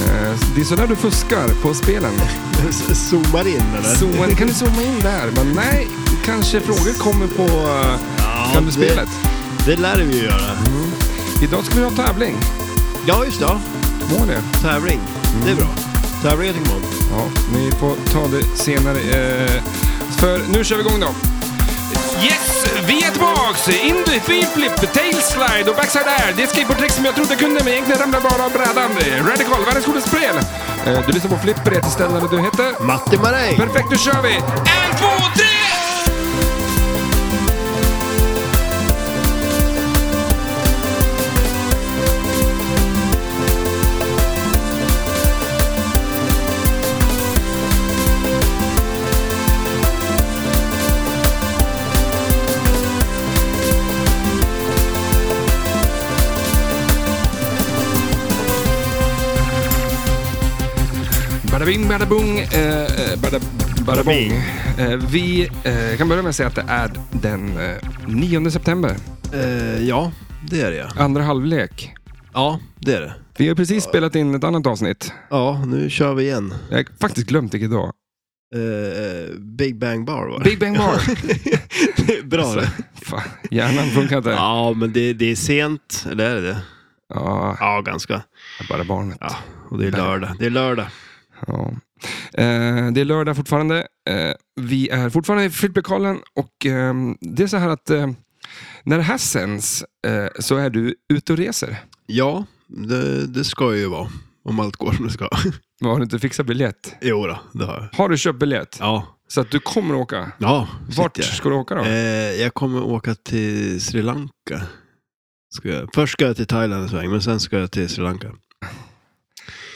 Eh, Det är sådär du fuskar på spelen. Zoomar in eller? Zoomen, kan du zooma in där? Men nej, kanske frågor kommer på eh, Ja, kan du spelet. Det, det lär vi ju göra. Idag ska vi ha tävling. Ja, just det. ja. Må det. Tävling. Det är bra. Tävlingar tycker man om. Ja, ni får ta det senare. eh, För nu kör vi igång då. Yes, vi är tillbaks! Indie, flip, tailslide och backside air. Det är skateboardtrick som jag trodde jag kunde, men egentligen ramlade bara av brädan. Radical, världens coolaste spel. Eh, Du lyssnar på Flipper, heter stället du heter. Matti Maräng! Perfekt, då kör vi! En, två, tre! Bada bing, bada bung, eh, eh, bada, bada bong. Eh, Vi eh, kan börja med att säga att det är den eh, 9 september, Eh, ja, det är det ja. andra halvlek. Ja, det är det. Vi har precis spelat in ett annat avsnitt. Ja, nu kör vi igen. Jag har faktiskt glömt vilket dag. Eh, Big Bang Bar var Big Bang Bar. det. Bra det. Fan, hjärnan funkar inte. Ja. Ja, men det, det är sent. Eller är det det? Ja, ganska. bara barnet. Ja, och det är lördag. Det är lördag. Ja. Eh, det är lördag fortfarande. Eh, vi är fortfarande i flipplokalen och ehm, det är så här att eh, när det här sänds eh, så är du ute och reser. Ja, det, det ska ju vara. Om allt går som det ska. Har du inte fixat biljett? Jo då, det har jag. Har du köpt biljett? Ja. Så att du kommer att åka. Ja, Vart sitter jag. ska du åka då? Eh, jag kommer åka till Sri Lanka. Ska jag. Först ska jag till Thailand en sväng, men sen ska jag till Sri Lanka.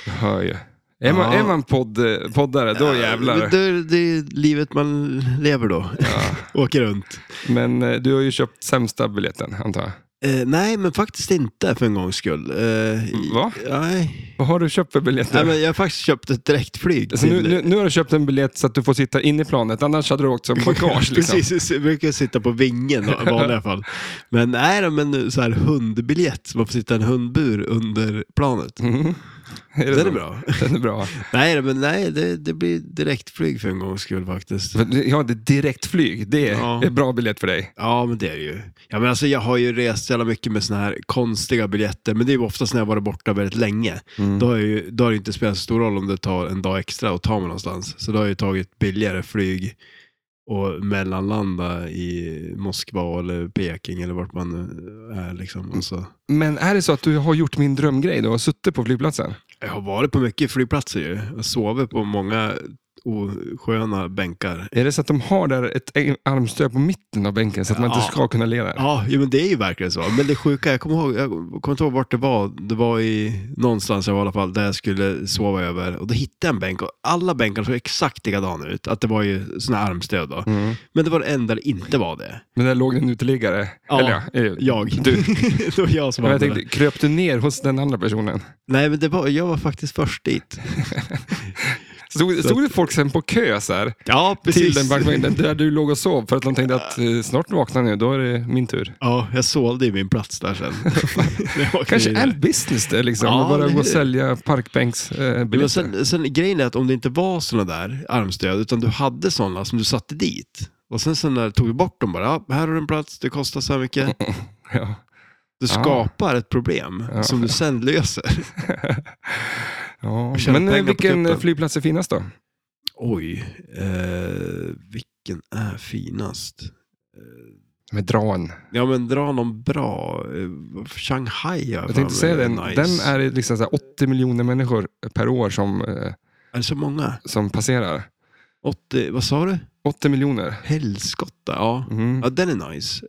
Jag Hör ju. Är man, Ja. är man podd, eh, poddare, då jävlar. Eh, Det, det är livet man lever då. Ja. Åker runt. Men eh, du har ju köpt sämsta biljetten, antar jag. Eh, nej, men faktiskt inte för en gångs skull. Eh, i- Va? Nej. Vad har du köpt för biljetter? nej men jag har faktiskt köpt ett direktflyg. Alltså nu, nu, nu har du köpt en biljett så att du får sitta inne i planet, annars hade du åkt som bagage. Liksom. Precis, jag brukar sitta på vingen då, i vanliga fall. Men nej då, men så här hundbiljett, så man får sitta i en hundbur under planet. Mm. det Den så? är bra. Den är bra. Nej, men nej, det, det blir direktflyg för en gångs skull faktiskt. För det- Ja, det är direktflyg. Det är Ja. är bra biljett för dig. Ja, men det är det ju. Ja, men alltså, jag har ju rest så jävla mycket med såna här konstiga biljetter, men det är ju oftast när jag varit borta väldigt länge. Då, har jag ju, då har det inte spelat så stor roll om det tar en dag extra att ta mig någonstans. Så då har jag ju tagit billigare flyg och mellanlanda i Moskva eller Peking eller vart man nu är. Liksom. Och så. Men är det så att du har gjort min drömgrej? Du har suttit på flygplatsen? Jag har varit på mycket flygplatser ju. Jag har sovit på många osköna bänkar. Är det så att de har där ett ä- armstöd på mitten av bänken så att man Ja. inte ska kunna le där? Ja, jo, men det är ju verkligen så. Men det sjuka, jag kommer, ihåg, jag kommer inte ihåg vart det var. Det var i någonstans jag var i alla fall, där jag skulle sova över. Och då hittade jag en bänk och alla bänkar såg exakt likadana ut. Att det var ju såna här armstöd då. Mm. Men det var det enda det inte var det. Men där låg en uteliggare. Ja. Eller ja, eh, Jag. Du. det var jag som Men jag hade det. tänkte, kröp du ner hos den andra personen? Nej, men det var, jag var faktiskt först dit. Stod, stod det folk sen på kö så här, Ja, till den bankvagnen där du låg och sov för att de tänkte att eh, snart vaknar nu, då är det min tur. Ja, jag sålde ju min plats där sen. När jag åkte Kanske vidare. en business det liksom, Ja, att bara eller gå och hur? sälja eh, Men parkbänksbiljetter. sen, sen grejen är att om det inte var sådana där armstöd, utan du hade sådana som du satte dit. Och sen, sen när tog vi bort dem bara, ja, här har du en plats, det kostar så här mycket. ja. Du Ah. skapar ett problem Ja. som du sen löser. Ja. Och tjäna Men eh, pengar på typ vilken kuppen. eh, flygplats är finast då? Oj, eh, vilken är finast? Eh, Med dran. Ja men dra någon bra. Eh, Shanghai har Jag för mig tänkte säga är den. nice. Den är det liksom så här 80 miljoner människor per år som, eh, Är det så många? som passerar. 80, vad sa du? 80 miljoner. Helskotta, ja. Mm. Ja, den är nice.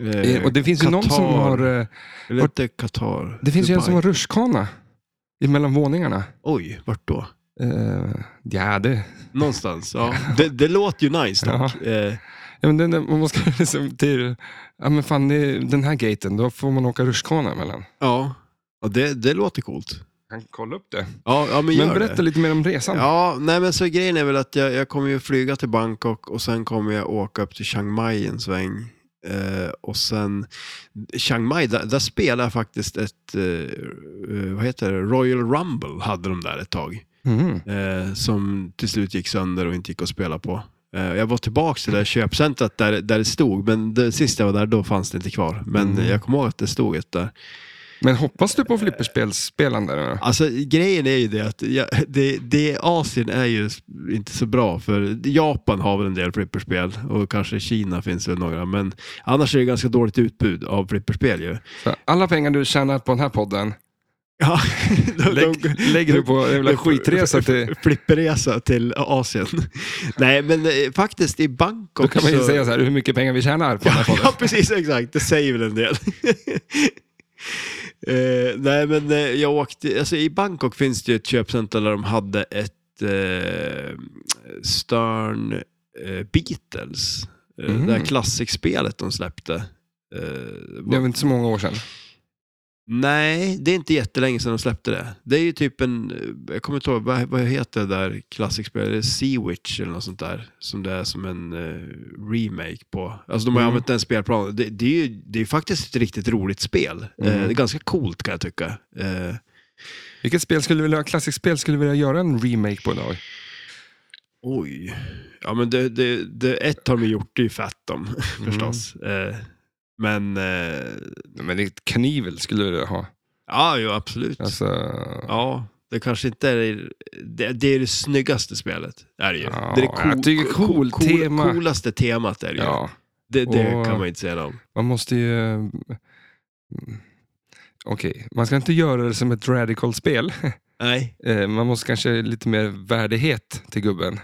Eh, Eh, Och det finns ju någon som Qatar. har, eh, Eller Vart- inte Qatar. det finns ju en Dubai. som har rutschkana mellan våningarna. Oj, vart då? Eh, ja, det... Någonstans, ja. Det, det låter ju nice dock. Eh, Ja, men den, den, man ska liksom till... Ja, men fan, det är den här gaten, då får man åka rutschkana mellan. ja, ja det, det låter coolt. Kan kolla upp det. Ja, ja men gör Men berätta det. lite mer om resan. Ja, nej men så grejen är väl att jag, jag kommer ju flyga till Bangkok och sen kommer jag åka upp till Chiang Mai en sväng. Eh, och sen Chiang Mai, där, där spelade jag faktiskt ett, eh, eh, vad heter det, Royal Rumble hade de där ett tag. Mm. Eh, som till slut gick sönder och inte gick att spela på. Eh, jag var tillbaka till det där köpcentret där, där det stod, men det, sist jag var där då fanns det inte kvar. Men Mm. jag kommer ihåg att det stod ett där. Men hoppas du på flipperspelsspelande? eller? Alltså grejen är ju det att jag, det, det, Asien är ju inte så bra för Japan har väl en del flipperspel och kanske Kina finns väl några men annars är det ganska dåligt utbud av flipperspel ju. Så Alla pengar du tjänar på den här podden Ja, de, lägg, de, lägger du på en jävla skitresa till... flipperresa till Asien. Nej men eh, faktiskt i Bangkok Då kan man ju så... säga så här, hur mycket pengar vi tjänar på den här podden. Ja, precis exakt. Det säger väl en del. Eh, nej, men eh, jag åkte... Alltså, I Bangkok finns det ju ett köpcenter där de hade ett eh, Stern eh, Beatles. Eh, Mhm. Det här klassikspelet de släppte. Eh, Det var- var inte så många år sedan. Nej, det är inte jättelänge sedan de släppte det. Det är ju typ en, eh, jag kommer inte ihåg, vad, vad heter det där klassikspelet? Det är Sea Witch eller något sånt där. Som det är som en eh, remake på. Alltså de har ju Mm. använt den spelplanen. Det, det är ju det är ju faktiskt ett riktigt roligt spel. Eh, Mm. det är ganska coolt kan jag tycka. Eh, Vilket spel skulle du vilja, klassiskt spel skulle du vilja göra en remake på idag? oj. Ja men det, det, det, ett har de gjort, det är ju Fat om Mm. förstås. Eh, men, eh, Nej, Men ett knivel skulle du vilja ha. ja jo absolut. Alltså, Ja, det kanske inte är det, det, är det snyggaste spelet. Är det ju. Ja, det är det cool- jag tycker cool tema. coolaste temat är det ju. ja. Det, det och- kan man inte säga något om. Man måste ju... mm, Okej, man ska inte göra det som ett radical spel. Nej. Eh, Man måste kanske ge lite mer värdighet till gubben.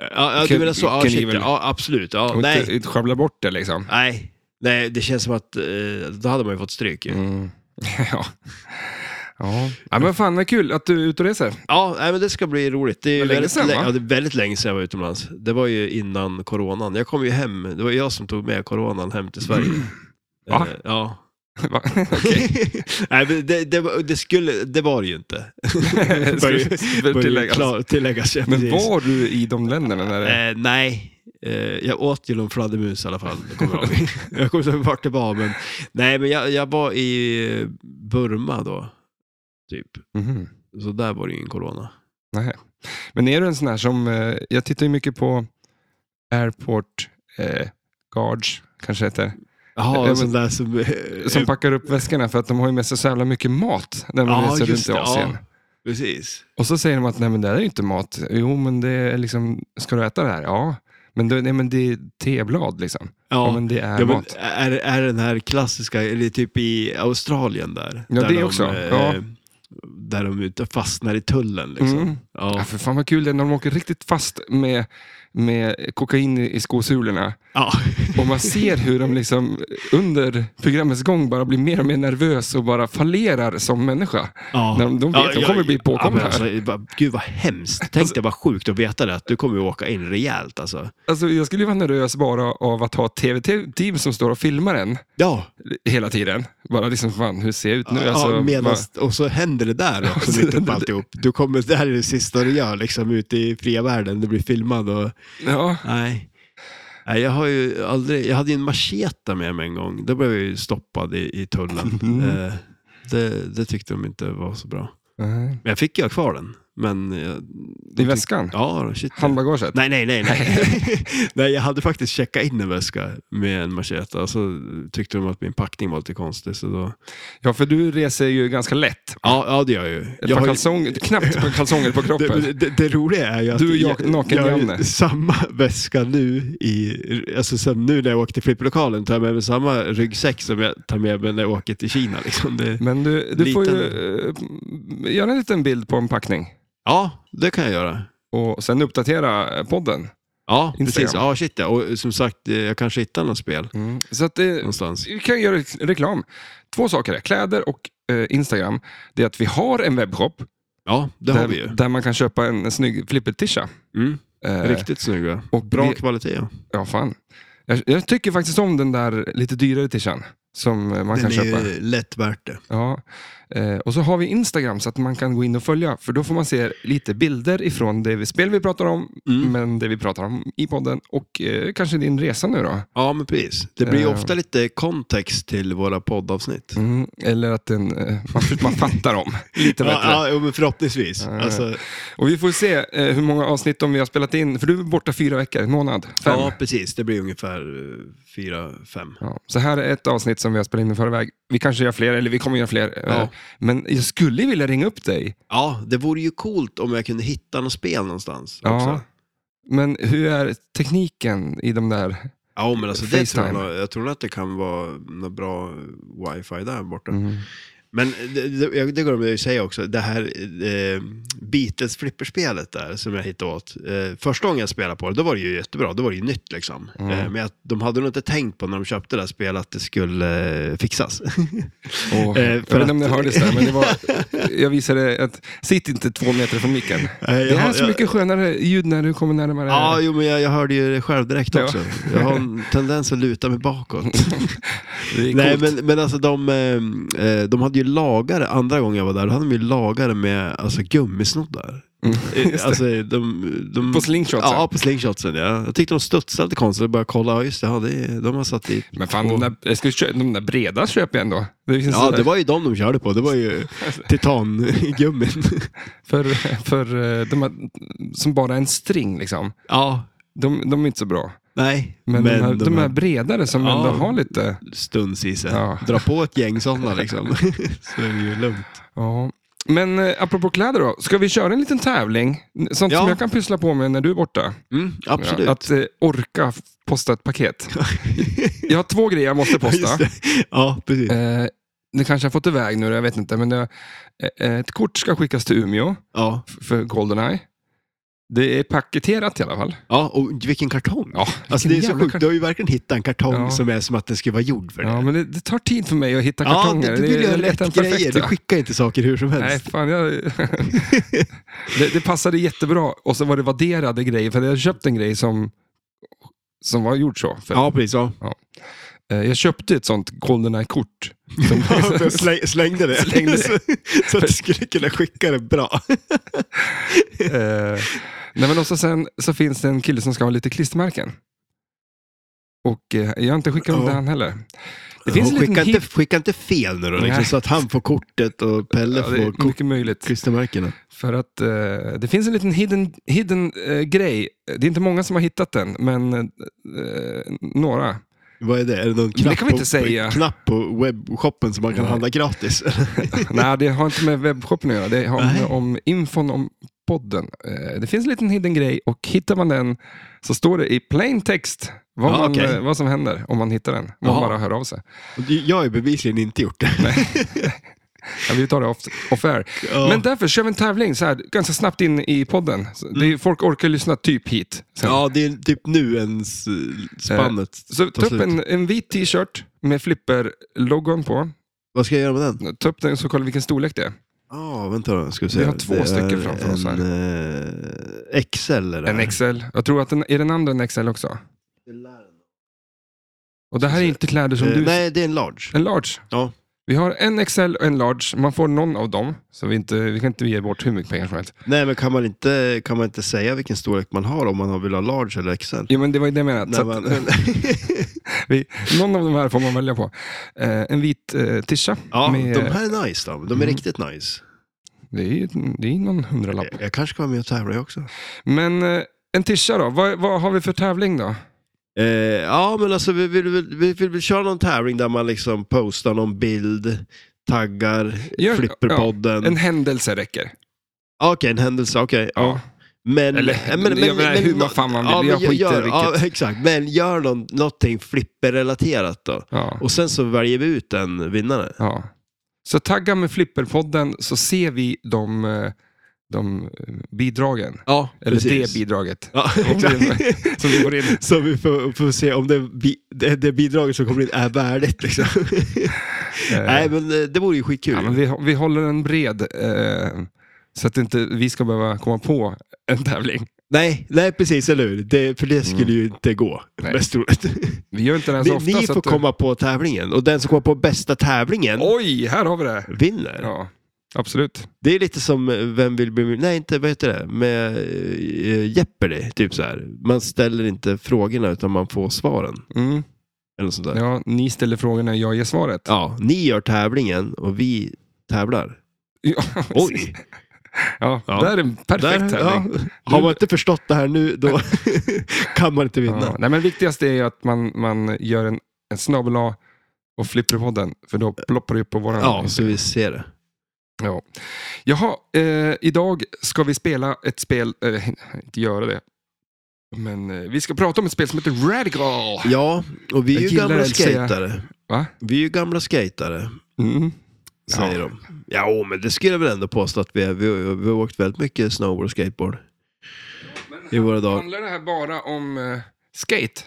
Ja, ja, du Can- menar så? Ja, can shit, even- ja absolut. Ja, Och inte, nej. inte sjabbla bort det liksom. nej. Nej, det känns som att eh, då hade man ju fått stryk ju. Mm. ja. ja. Ja, men fan vad kul att du är ute och reser. Ja, nej, men det ska bli roligt. Det är ju Men länge väldigt, sedan, lä- va? ja, det är väldigt länge sedan jag var utomlands. Det var ju innan coronan. Jag kom ju hem. Det var jag som tog med coronan hem till Sverige. Va? Eh, ja. Va? nej, men det, det, var- det, skulle, det var det ju inte. Ska Börjar- vi- Bör ju tilläggas. klar- tilläggas, ja, Men precis. var du i de länderna? När det... Eh, nej, eh, jag åt ju någon fladdermus i alla fall. det Kommer jag, ihåg. jag kommer inte ihåg vart det var, men nej, men jag, jag var i eh, Burma då, typ. Mhm. Så där var det ju ingen corona. Nej. Men är du en sån här som, eh, jag tittar ju mycket på airport eh, guards, kanske heter, Jaha, men- en sån där som... eh, som eh, packar upp väskorna för att de har ju med sig så jävla mycket mat när de Ja, reser just runt i det, ja. Asien. precis. Och så säger de att nej men det här är ju inte mat. Jo men det är liksom, ska du äta det här? Ja. Men, det, nej, men det är teblad liksom. Ja, Ja, men det är ja, men mat. är, är den här klassiska, eller typ i Australien där. Ja, där det de, också. eh, Ja. Där de ute fastnar i tullen liksom. Mm. Ja, Ja. för fan vad kul det är när de åker riktigt fast med, med kokain i i skosulorna. ja. Och man ser hur de liksom under programmets gång bara blir mer och mer nervös och bara fallerar som människa. Ja. När de- de vet, de jag- kommer bli påkomna men här. alltså, det är bara- Gud vad hemskt. Tänk dig vad sjukt att veta det, att du kommer ju åka in rejält alltså. Alltså, jag skulle ju vara nervös bara av att ha ett tv-team som står och filmar en Ja, hela tiden. Bara liksom, fan hur ser jag ut nu? ja Alltså, medans, och så händer det där också mitt uppe i alltihop. Du kommer, det här är det sista du gör liksom ute i fria världen, du blir filmad och... bara- ja. Nej. Nej, jag har ju aldrig, jag hade ju en macheta med mig en gång. Då blev jag ju stoppad i, i tullen. Mm. Eh, det, det tyckte de inte var så bra. Nej. Men jag fick ju ha kvar den. Men... Jag, I väskan? Ja, shit. Handbagaget? Nej, nej, nej. Nej. nej, jag hade faktiskt checkat in en väska med en macheta. Så tyckte de att min packning var lite konstig. Så då... Ja, för du reser ju ganska lätt. ja, ja, det gör jag ju. Ett Jag par har ju... kalsonger, knappt ett par kalsonger på kroppen. Det, det, det roliga är ju att Du är jak- naken jag, jag har Janne. ju samma väska nu i, alltså sen nu när jag åker till flipperlokalen tar jag med mig samma ryggsäck som jag tar med mig när jag åker till Kina. Liksom. Det, Men du, du får ju Liten. eh, göra en liten bild på en packning ja, det kan jag göra. och sen uppdatera eh, podden. Ja, Instagram. precis. Ja, shit ja. Och som sagt, eh, jag kanske hittar något spel Så att det, någonstans. vi kan göra re- reklam. Två saker, är kläder och eh, Instagram. Det är att vi har en webbshop Ja, det där, har vi ju. där man kan köpa en, en snygg flippertisha. Mm. Eh, Riktigt snygga. och Bra vi- kvalitet. ja. Ja, fan. Jag, jag tycker faktiskt om den där lite dyrare tishan. Som eh, man Den kan är köpa. ju lätt värt det. Ja. Eh, och så har vi Instagram så att man kan gå in och följa. För då får man se lite bilder ifrån det vi- spel vi pratar om, Mm. men det vi pratar om i podden och eh, kanske din resa nu då. Ja, men precis. Det blir ju Eh. ofta lite kontext till våra poddavsnitt. Mm, eller att den, eh, man, man fattar dem lite bättre. Eh. Ja, ja, men förhoppningsvis. Ja, ja. Alltså, Och vi får se eh, hur många avsnitt om vi har spelat in, för du är borta fyra veckor, en månad, fem. ja, precis. Det blir ungefär eh, fyra, fem. Ja, så här är ett avsnitt som vi har spelat in i förväg. Vi kanske gör fler, eller vi kommer göra fler. Ja. eh, Men jag skulle vilja ringa upp dig. Ja, det vore ju coolt om jag kunde hitta något spel någonstans Ja. också. Men hur är tekniken i de där? Ja, men alltså det tror jag, Facetime. nog- jag tror nog att det kan vara något bra wifi där borta. Men det, det, jag- det går jag att säga också, det här eh, Beatles flipperspelet där som jag hittade åt. Eh, första gången jag spelade på det, då var det ju jättebra, då var det ju nytt liksom. Mm. Eh, men jag, de hade nog inte tänkt på när de köpte det här spelet att det skulle eh, fixas. Och, Eh, jag vet för inte om att- det hördes där, men det var, jag visade att sitt inte två meter från micken. Det är så mycket skönare ljud när du kommer närmare. Ja, jo, men jag, jag hörde ju det själv direkt Eh. Ja. också. Jag har en tendens att luta mig bakåt. det är Nej, coolt. men, men alltså de, eh, eh, de hade ju lagare, andra gången jag var där, då hade de ju lagare med alltså, gummisnoddar. Mm, just det. Alltså, de, de, På slingshotsen. Ja, på slingshotsen. Ja. Jag tyckte de studsade lite konstigt och började kolla, ja just det, ja, det de har satt dit. Men fan, de där, jag ska köpa, de där breda köper jag ändå. Det finns Ja, sådär det var ju de de körde på. Det var ju titangummin. För, för eh, de här, som bara är en string liksom. Ja, De, de är inte så bra. nej. Men, de, här, de, här bredare som Ja. ändå har lite... stunds i sig. Ja. Dra på ett gäng sådana liksom. Så är det ju lugnt. Ja. Men eh, apropå kläder då, ska vi köra en liten tävling? Sånt Ja. som jag kan pyssla på med när du är borta. Mm, absolut. Ja, Att eh, orka f- posta ett paket. jag har två grejer jag måste posta. Just det. Ja, precis. Eh, det kanske jag fått iväg nu, jag vet inte. Men jag, eh, ett kort ska skickas till Umeå Ja. f- för Goldeneye. Det är paketerat i alla fall. ja, och vilken kartong. Ja, Alltså det är vilken så jävla sjukt, du har ju verkligen hittat en kartong Ja. som är som att den skulle vara gjord för det. Ja, men det, det tar tid för mig att hitta Ja, kartonger. du, du vill jag göra letar rätt den grejer. Du perfekta. skickar inte saker hur som Nej, helst. fan. Jag... det, det passade jättebra. Och så var det vadderade grejer, för jag köpte en grej som, som var gjord så. För, Ja, precis. Ja. eh, jag köpte ett sånt Goldeneye-kort. Jag släng, slängde det. Slängde det. så, så att du skulle kunna skicka det bra. Eh, nej, men också sen så finns det en kille som ska ha lite klistermärken. Och eh, jag har inte skickat dem Ja. till han heller. Det finns en liten skicka, inte, hit. skicka inte fel nu då, liksom, Nej. så att han får kortet och Pelle Ja, det får är kort- mycket möjligt. klistermärkena. För att eh, det finns en liten hidden, hidden eh, grej. Det är inte många som har hittat den, men eh, några. Vad är det? Är det någon kan knapp, vi på, inte säga. knapp på webbshoppen som man kan Nej. handla gratis? Nej, det har inte med webbshoppen att göra. Det har Nej. med om infon om podden. Eh, det finns en liten hidden grej och hittar man den så står det i plain text vad, Ja, man, okej. eh, vad som händer om man hittar den. Om man Jaha. bara hör av sig. Jag har ju bevisligen inte gjort det. Ja, vi tar det off, off air. Ja. Men därför kör vi en tävling så här, ganska snabbt in i podden. Så Det är, folk orkar lyssna typ hit. sen. Mm. Ja, det är typ nu ens eh, spannet. Så tar ta upp slut. en, en vit t-shirt med flipper-logon på. Vad ska jag göra med den? Ta upp den så kollar vilken storlek det är. Ja, vänta då. Ska vi se. Vi har två det stycken är framför oss här. En eh, XL är det här. En XL. Jag tror att den, är den andra en XL också. Och det här är inte kläder som Eh, du... Nej, det är en large. En large. Ja. Vi har en XL och en large. Man får någon av dem. Så vi, inte, vi kan inte ge bort hur mycket pengar som helst. Nej, men kan man, inte, kan man inte säga vilken storlek man har om man vill ha large eller XL? Jo, men det var ju det jag menade. Nej, Så att, man, vi, någon av de här får man välja på. Eh, en vit eh, tisha. ja, med, de här är nice. Då. De är Mm. riktigt nice. det, är, ju- det är någon hundralapp. Jag, jag kanske ska vara med och tävla jag också. Men eh, en tisha då? Vad, vad har vi för tävling då? Eh, ja, men alltså vi vill, vi, vi vill väl köra någon tävling där man liksom postar någon bild, taggar, Gör- flipperpodden. En händelse räcker. Ah, Okej, en händelse. Okej. ja. Men, Eller eh, men, men, jag menar, men, hur nå- man fan man vill. ja, men jag gör- skiter i gör, vilket. ja, exakt. Men gör någon, någonting flipperrelaterat då. Ja. Och sen så väljer vi ut en vinnare. Ja. Så tagga med Flipperpodden så ser vi de, eh, de eh, bidragen. Ja, Eller precis. det bidraget. Ja, Om exakt. det- Som vi får in. Så vi får, får se om det, bi- det, det bidraget som kommer in är värdigt. Liksom. Eh, Nej, men eh, det vore ju skitkul. ja, men vi, vi håller en bred eh, så att inte vi ska behöva komma på en tävling. Nej, nej precis, eller hur? Det, för det skulle ju inte gå. Mm. Nej. Mest troligt. Vi gör inte det här så Ni, ofta. ni så får att, eh, komma på tävlingen och den som kommer på bästa tävlingen Oj, här har vi det. vinner. Ja, absolut. Det är lite som eh, Vem vill bli miljonär? Nej, inte vad heter det? Med eh, Jeopardy, typ så här. Man ställer inte frågorna utan man får svaren. Mm. Eller något sånt där. Ja. Ja, ni ställer frågorna, jag ger svaret. ni gör tävlingen och vi tävlar. Ja, Oj! Ja, Ja. där är en perfekt Där, ja. tävling. Har man inte förstått det här nu, då kan man inte vinna. Ja. Nej, men viktigast är ju att man, man gör en, en snabel A och flipperpodden, för då ploppar det upp på våran. Ja, så vi ser det. Ja. Jaha, eh, idag ska vi spela ett spel, eh, inte göra det, men eh, vi ska prata om ett spel som heter Radical. Ja, och vi är Jag ju gillar gamla att säga- skatare. Va? Vi är ju gamla skatare, Mm. Ja. säger de. Ja, men det skulle jag väl ändå påstå att vi är. Vi, har- vi har åkt väldigt mycket snowboard och skateboard i våra dagar. Handlar det här bara om eh, skate?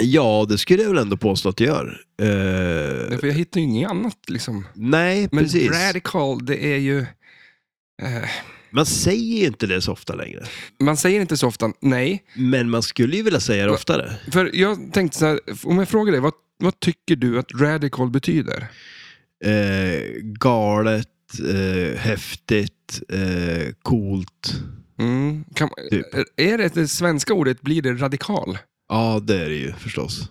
Ja, det skulle jag väl ändå påstå att det gör. Eh, För jag hittar ju inget annat liksom. nej, Men precis. Radical, det är ju... Eh, Man säger inte det så ofta längre. man säger inte så ofta nej. Men man skulle ju vilja säga det Va- oftare. För jag tänkte så här, om jag frågar dig, vad, vad tycker du att radical betyder? Eh, galet, eh, häftigt, eh, coolt. Mm, kan, Typ. Är det det svenska ordet blir det radikal? Ja, det är det ju förstås.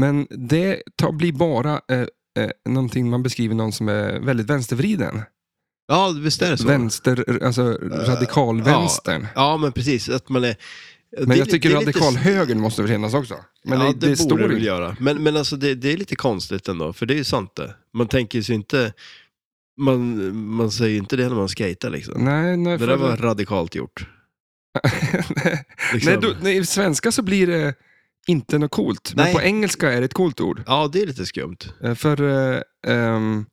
Men det tar, blir bara eh, eh, någonting man beskriver någon som är väldigt vänstervriden. Ja, visst är det så. Eh, Vänster, alltså radikalvänstern. Ja, men precis. Att man är... Men jag tycker är lite- radikalhögern måste finnas också. Men ja, det, det, det, är borde står det ju- väl göra. Men, men alltså, det, det är lite konstigt ändå, för det är ju sant det. Man tänker sig inte... Man, man säger ju inte det när man skejtar liksom. Nej, nej, Det för- där var radikalt gjort. Liksom. nej, du, nej, i svenska så blir det inte något coolt. Men Nej. på engelska är det ett coolt ord. Ja, det är lite skumt. Eh, För eh, ehm,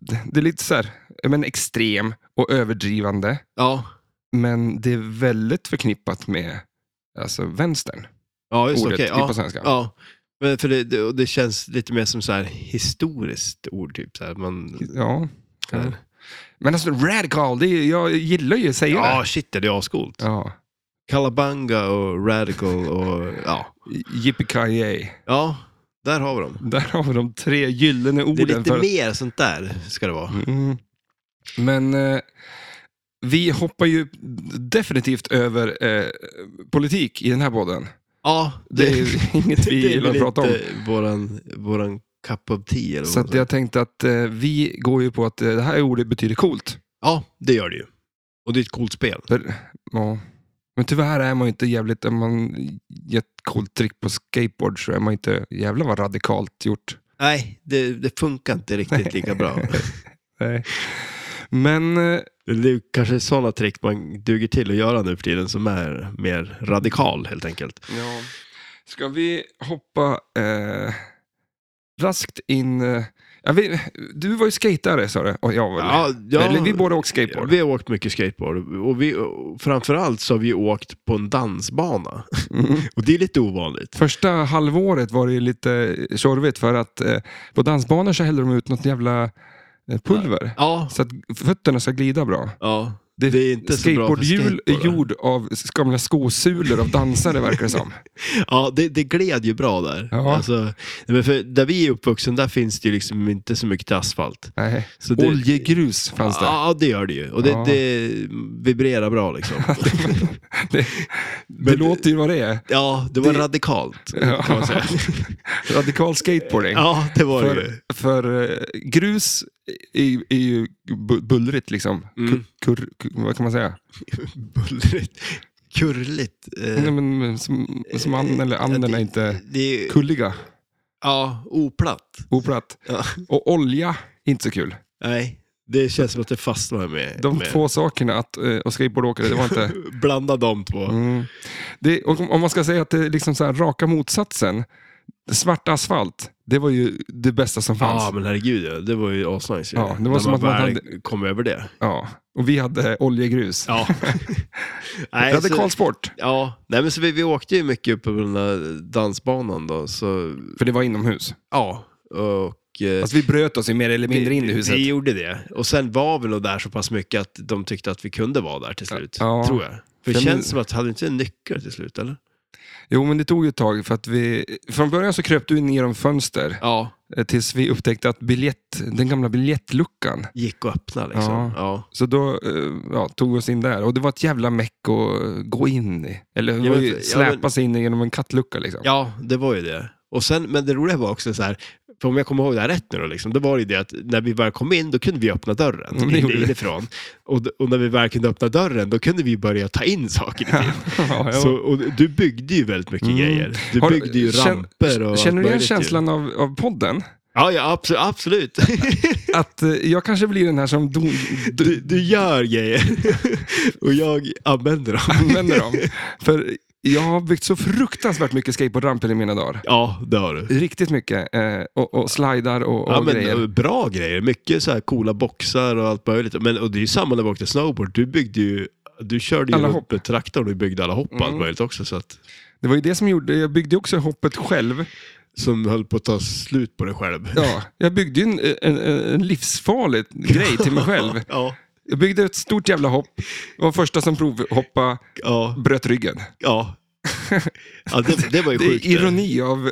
det- det är lite så här, eh, men extrem och överdrivande. Ja, Men det är väldigt förknippat med alltså, vänstern. ja just det. ordet okej. i- på Ja, svenska. ja. Men för det, det, och det känns lite mer som så här historiskt ord, typ. Så här, man, Ja. Men alltså radical, det är, jag gillar ju att säga ja, det. shit, det är ascoolt. Ja. Kalabanga och radical och ja. Yippee-ki-yay. Ja, där har vi dem. Där har vi de tre gyllene Det är orden. lite för... mer sånt där, ska det vara. Mm. Men eh, vi hoppar ju definitivt över eh, politik i den här podden. Ja, Det är inget vi det är gillar att väl prata om. inte Våran, våran cup of tea eller Så vad att man säger. jag tänkte att eh, vi går ju på att eh, det här ordet betyder coolt. Ja, det gör det ju. Och det är ett coolt spel. För, ja. Men tyvärr är man ju inte jävligt, om man gör ett coolt trick på skateboard så är man inte, jävlar vad radikalt gjort. Nej, det, det funkar inte riktigt lika bra. Nej. Men eh, Det är kanske sådana trick man duger till att göra nu för tiden som är mer radikal helt enkelt. Ja. Ska vi hoppa eh, raskt in... Eh, ja, vi, du var ju skatare sa du, och jag var ja, Eller vi båda åkte skateboard. Vi har åkt mycket skateboard och, vi, och framförallt så har vi åkt på en dansbana. Mm. Och det är lite ovanligt. Första halvåret var det ju lite tjorvigt för att eh, på dansbanor så häller de ut något jävla eh, pulver. Ja, Så att fötterna ska glida bra. ja. Det- Det, är inte så bra för Skateboardhjul är skateboardare. gjord av gamla skosulor av dansare verkar det som. Ja, det, det gled ju bra där. Ja. Alltså, nej, men för där vi är uppvuxen, där finns det ju liksom inte så mycket till asfalt. Nej. Så det, Oljegrus fanns det. Ja, det gör det ju. Och det, Ja. det vibrerar bra liksom. det, det Men- låter ju vad det är. Ja, det var Det- radikalt. Ja. Kan man säga. Radikal skateboarding. Ja, det var det ju. För, för eh, grus är, är ju bu- bullrigt liksom. Mm. Kur, kur, kur, vad kan man säga? Bullrigt. Kurligt. Eh, Nej, men, men som, som anden eller anden är inte det är ju, kulliga, ja, oplatt. oplatt. Ja. Och olja, inte så kul. Nej, det känns som att det fastnar med. De med. två sakerna, att eh, och skateboardåkare, det var inte... Blanda de två. Mm. Det, och om, om man ska säga att det är liksom så här, raka motsatsen, svart asfalt, det var ju det bästa som fanns. Ja, men herregud ja. Det var ju asnice. Ja, det var När som att man väl hade- kom över det. Ja. Och vi hade oljegrus. Ja. Nej, Radikal så, sport, ja. Nej, men så vi, vi åkte ju mycket upp på den där dansbanan då. Så, för det var inomhus. ja. Och, eh, Fast vi bröt oss ju mer eller mindre in i huset. Vi gjorde det. Och sen var vi nog där så pass mycket att de tyckte att vi kunde vara där till slut. Ja. Tror jag. För det känns som att, hade du inte en nyckel till slut eller? Jo, men det tog ju ett tag för att vi... Från början så kröp du ner om fönster. Ja. eh, Tills vi upptäckte att biljett, den gamla biljettluckan, Gick att öppna liksom. Ja. Ja. så då eh, ja, tog vi oss in där. Och det var ett jävla meck att eh, gå in i. Eller det Ja, var men- ju ja, men- släpa sig in genom en kattlucka liksom. Ja, det var ju det. Och sen, men det roliga var också så här, för om jag kommer ihåg det här rätt nu då, liksom, det var ju det att när vi väl kom in, då kunde vi öppna dörren Mm, det gjorde vi. inifrån. Och, d- och när vi väl kunde öppna dörren, då kunde vi börja ta in saker. i bild. Ja, ja. Så, och du byggde ju väldigt mycket Mm. grejer. Du Har- byggde ju kän- ramper och allt Känner du igen möjligt ju. känslan av, av podden? Ja, ja absolut. absolut. Att eh, jag kanske blir den här som do, do, Du, du gör grejer och jag använder dem. använder dem. För jag har byggt så fruktansvärt mycket skateboardramper i mina dagar. Ja, det har du. Riktigt mycket. Eh, och, och slidar och, och Ja, men, grejer. eh, bra grejer. Mycket så här coola boxar och allt möjligt. Men, och det är ju samma när vi åkte snowboard. Du byggde ju du körde ju Alla runt hopp. med traktorn och du byggde alla hopp och allt Mm. möjligt också. Så att, Det var ju det som gjorde, jag byggde ju också hoppet själv. som höll på att ta slut på dig själv. Ja, jag byggde ju en, en, en livsfarlig grej till mig själv. Ja, Jag byggde ett stort jävla hopp. Jag var första som provhoppa ja, bröt ryggen. ja. ja det, det var ju Det sjukt. eh. är ironi av...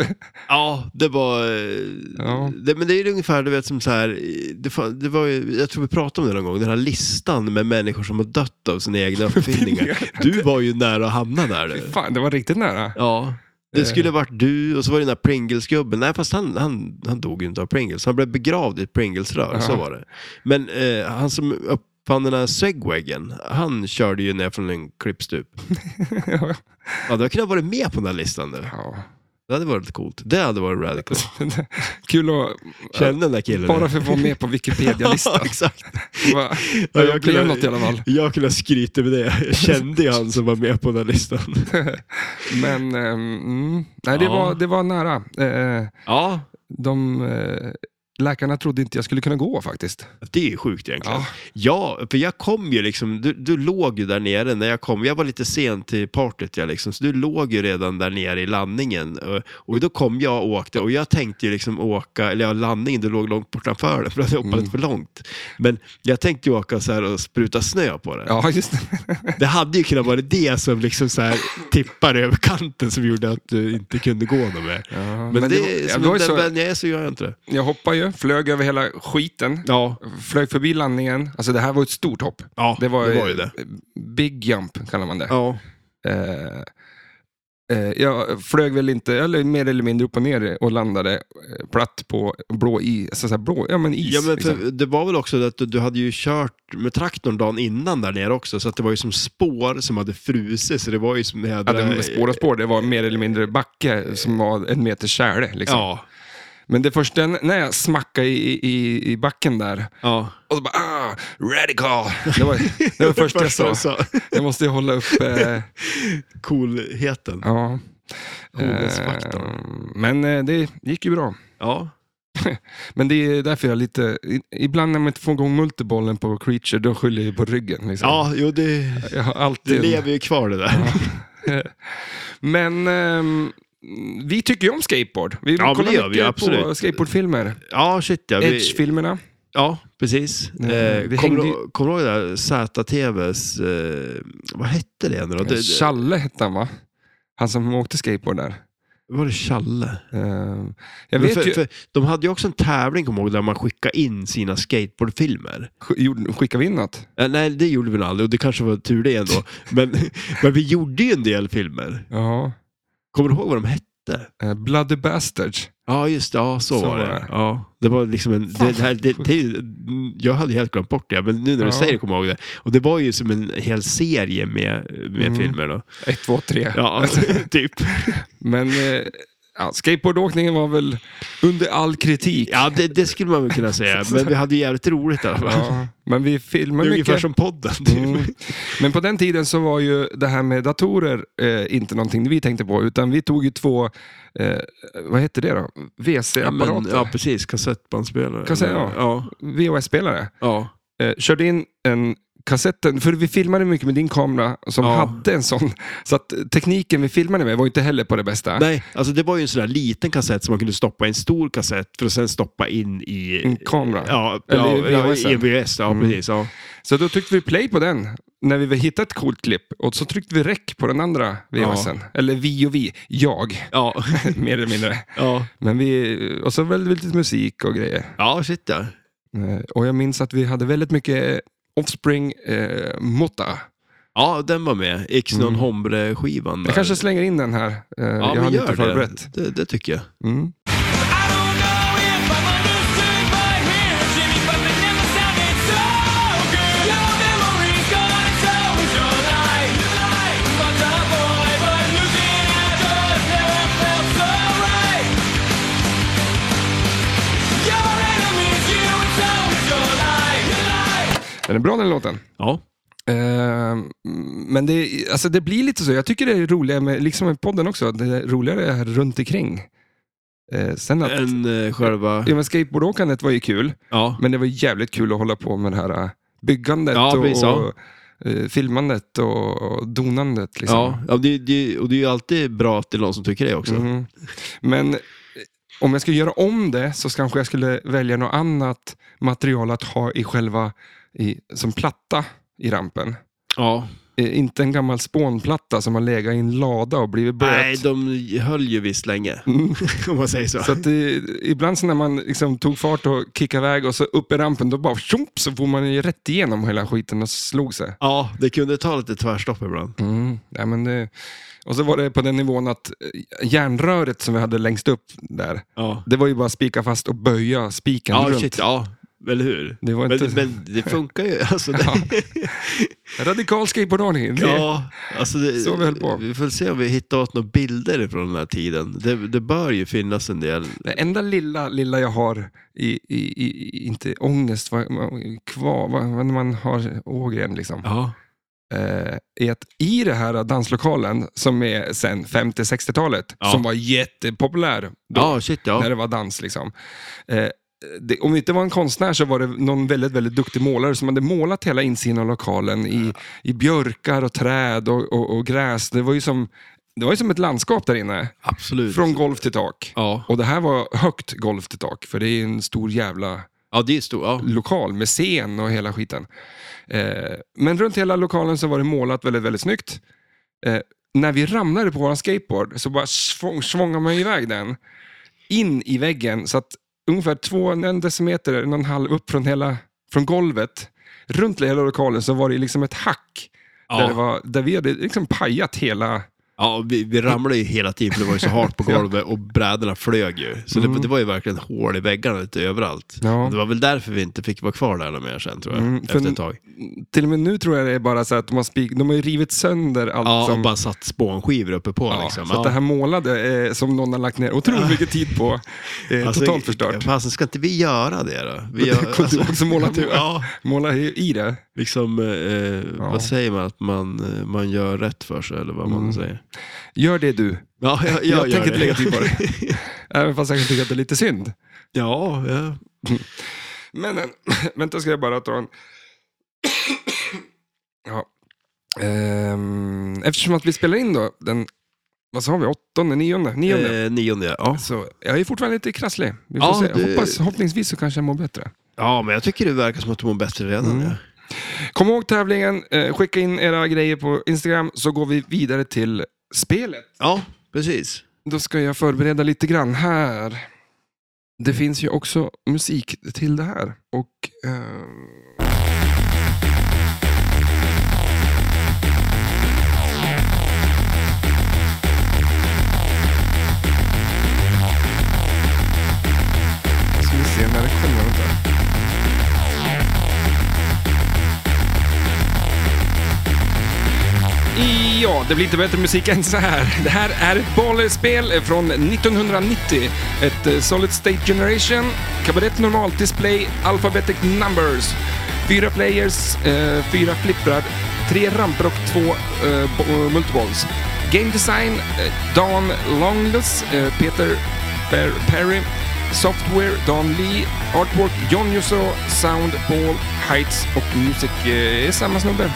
Ja, det var... eh, Ja. Det, men det är ju ungefär, du vet, som så här... eh, Det, fan- det var ju, jag tror vi pratade om det någon gång, den här listan med människor som har dött av sina egna uppfinningar. Du var ju nära att hamna där. Du. Fan, det var riktigt nära. Ja. Eh. Det skulle varit du och så var det den där Pringles-gubben. Nej, fast han, han, han dog ju inte av Pringles. Han blev begravd i ett Pringles-rör, så Aha. var det. Men eh, han som uppfann den här segwagen, han körde ju ner från en klippstup. Ja. Ja, du hade kunnat vara med på den här listan nu. Ja. Det hade varit coolt. Det hade varit radical. Kul att... Kände den där killen Bara för att vara med på Ja, Wikipedia-listan. exakt. Va? Ja, jag blev något i alla fall. Jag kunde skryta med det. Jag kände ju han som var med på den här listan. Men ehm, mm, nej, det, Ja. var, det var nära. Eh, Ja, De eh, läkarna trodde inte jag skulle kunna gå faktiskt. det är ju sjukt egentligen. Ja. Ja, för jag kom ju liksom, du, du låg ju där nere när jag kom. Jag var lite sen till partyt, jag liksom, så du låg ju redan där nere i landningen. Och, och då kom jag och åkte och jag tänkte ju liksom åka, eller ja, landningen, du låg långt bortanför det för att jag hoppade Mm. för långt. Men jag tänkte ju åka så här och spruta snö på det. Ja, just det. Det hade ju kunnat vara det som liksom så här tippade över kanten som gjorde att du inte kunde gå något mer. Ja, Men, det, var- som det var ju den så, vän jag är så gör jag inte det. jag hoppade ju, flög över hela skiten, Ja, flög förbi landningen. Alltså det här var ett stort hopp. ja Det var, det var ju det. Big jump kallar man det. Ja. Eh, eh, jag flög väl inte, eller mer eller mindre upp och ner och landade eh, platt på blå is. Alltså så här blå, ja men is. Ja, men liksom. för det var väl också det att du, du hade ju kört med traktorn dagen innan där nere också, så att det var ju som spår som hade frusit, så det var ju som Ja, jädra... det var spår liksom. och spår, det var mer eller mindre backe som var en meter tjäle. Liksom. Ja, Men det första, när jag smackade i, i, i backen där, ja. och så bara ah, radical. Det var det, var det första jag sa. Jag måste ju hålla upp... Eh, Coolheten. ja. Oh, Eh, Godhetsfaktorn. men eh, det gick ju bra. Ja. Men det är därför jag är lite... i- Ibland när man inte får igång multibollen på creature, då skyller jag på ryggen. Liksom. ja, jo det, Jag har det alltid... lever ju kvar det där. Men ehm, vi tycker ju om skateboard. Vi men kollar det gör vi, mycket på absolut. skateboardfilmer. Ja, shit ja. vi- Edge-filmerna. Ja, precis. Eh, Eh, vi kommer hängde du ju- ihåg- kommer du ihåg det där ZTVs, eh, vad hette det nu då? Det, det, Challe hette han va? Han som åkte skateboard där. var det Challe? Ehm, jag Men vet för, ju... för de hade ju också en tävling, kommer jag ihåg, där man skickade in sina skateboardfilmer. Sk- gjorde- Skickade vi in något? Eh, nej, det gjorde vi väl aldrig och det kanske var tur det ändå. men, men vi gjorde ju en del filmer. Ja. Kommer du ihåg vad de hette? Eh, Bloody Bastards. Ja, just det. Ja, så, Så var var det. det. Ja, det var liksom en... Det, det här, det, det, jag hade helt glömt bort det, men nu när du Ja. säger det kommer jag ihåg det. Och det var ju som en hel serie med, med Mm. filmer då. Ett, två, tre. Ja, typ. Men eh, ja, skateboardåkningen var väl under all kritik. Ja, det, det skulle man väl kunna säga. Men vi hade ju jävligt roligt i alla fall. Ja, Men vi Det filmar är ungefär mycket. som podden. Typ. Mm. Men på den tiden så var ju det här med datorer eh, inte någonting vi tänkte på, utan vi tog ju två, eh, vad hette det då? Ja, men, VC-apparater? ja, precis. Kassettbandspelare. Kassett, ja. ja. VHS-spelare. ja. Eh, körde in en kassetten, för vi filmade mycket med din kamera som Ja. hade en sån. Så att tekniken vi filmade med var inte heller på det bästa. Nej, alltså det var ju en sån där liten kassett som man kunde stoppa i en stor kassett för att sen stoppa in i... En kamera. Ja, Mm. Eller ja, i ja, VHS. i en VHS. Mm. Ja, precis. Ja. Så då tryckte vi play på den när vi hittade ett coolt klipp. Och så tryckte vi räck på den andra VHSen. Eller vi och vi, jag, Ja, mer eller mindre. ja. Men vi, och så väldigt lite musik och grejer. ja, shit ja. Eh, Och jag minns att vi hade väldigt mycket Offspring eh, Motta. Ja, den var med. X non Hombre-skivan. där. Jag Mm. kanske slänger in den här. Eh, ja, jag men hade gör inte förberett. Det. Det, det tycker jag. Mm. I don't know if I'm understood by him, Jimmy, but they never sounded so good. Your memory's gone, so is your life. Fucked up boy, but losing it just never felt so right. Your enemy's you, and so is your life. Är den bra den låten? Ja. Eh, men det, alltså det blir lite så. Jag tycker det är roligare, med, liksom med podden också, att det är roligare här runt omkring. Eh, sen att, En eh, själva... ja, men skateboardåkandet var ju kul, Ja. men det var jävligt kul att hålla på med det här eh, byggandet Ja, och, precis, ja. eh, filmandet och donandet. Liksom. Ja, ja det, det, och det är ju alltid bra att det är någon som tycker det också. Mhm. Men eh, om jag ska göra om det så kanske jag skulle välja något annat material att ha i själva, i, som platta i rampen. Ja. Eh, Inte en gammal spånplatta som har legat i en lada och blivit blöt. Nej, de höll ju visst länge. Mm. Om man säger så. Så att det, ibland så när man liksom tog fart och kickade iväg och så upp i rampen, då bara tjomp, så får man ju rätt igenom hela skiten och slog sig. Ja, det kunde ta lite tvärstopp ibland. Mm. Ja, men det, och så var det på den nivån att eh, järnröret som vi hade längst upp där, Ja. det var ju bara spika fast och böja spiken Ja, runt. shit, ja. Eller hur? Det var inte- men, men det funkar ju. Alltså, det... Ja. Radikal skateboardordning. Det- Ja, alltså det, Så vi höll på. Vi får se om vi hittar åt några bilder från den här tiden. Det, det bör ju finnas en del. Det enda lilla, lilla jag har i, i, i- i inte ångest, vad, vad- kvar, vad, vad- när man har Ågren liksom. Ja. eh, är att i den här danslokalen som är sen 50-60-talet, Ja. som var jättepopulär då, Ja, shit när ja. det var dans. Liksom. Eh, det, om det inte var en konstnär så var det någon väldigt, väldigt duktig målare som hade målat hela insidan av lokalen i, i björkar och träd och, och, och gräs. Det var, ju som, det var ju som ett landskap där inne, Absolut. från golv till tak. Ja. Och det här var högt golv till tak, för det är en stor jävla ja, det är stort. Ja. lokal med scen och hela skiten. Eh, men runt hela lokalen så var det målat väldigt, väldigt snyggt. Eh, när vi ramlade på vår skateboard så bara svång, svångade man iväg den in i väggen så att ungefär två, en decimeter, en och en halv upp från, hela, från golvet. Runt hela lokalen så var det liksom ett hack där, Ja. det var, där vi hade liksom pajat hela... Ja, vi, vi ramlade ju hela tiden för det var ju så hårt på golvet och brädorna flög ju. Så det, det var ju verkligen hål i väggarna lite överallt. Mm. Ja. Det var väl därför vi inte fick vara kvar där något mer sen tror jag, Mm, för- efter ett tag. Till och med nu tror jag det är bara så att de har, spik, de har ju rivit sönder allt Ja, som... och bara satt spånskivor uppe på Ja, liksom. Så att det här målade eh, som någon har lagt ner otroligt mycket tid på, eh, Alltså, totalt förstört. Fasen, ska inte vi göra det då? Vi alltså, Det kunde du också måla till. Ja, Måla i i det. liksom, eh, vad säger man? Att man, eh, man gör rätt för sig eller vad man säger. Gör det du. Ja, jag, jag, Mm. Jag, gör tänker det. inte lägga till på det. Även fast jag kan tycka att det är lite synd. Ja, ja. Men, eh, vänta ska jag bara ta en... ja. Ehm, eftersom att vi spelar in då den, vad sa vi, åttonde, nionde? nionde. Eh, nionde, ja. Så jag är fortfarande lite krasslig. Vi får Ja, se. det- Hoppas, hoppningsvis så kanske jag mår bättre. Ja, men jag tycker det verkar som att du mår bättre redan. Mm. Ja. Kom ihåg tävlingen, eh, skicka in era grejer på Instagram så går vi vidare till spelet. ja, precis. Då ska jag förbereda lite grann här. Det finns ju också musik till det här. Och... ehm, Ska vi se när det kommer. Vänta. Ja, det blir inte bättre musik än så här. Det här är ett bollspel från 1990. Ett eh, Solid State Generation, Cabaret Normal Display, Alphabetic Numbers. Fyra players, eh, fyra flipprar, tre ramper och två eh, bo- eh, multiballs. Game Design, eh, Dan Longless, eh, Peter Per- Perry. Software, Dan Lee, Artwork John Jusso, Sound Paul Heights och Music eh, är samma snubbe.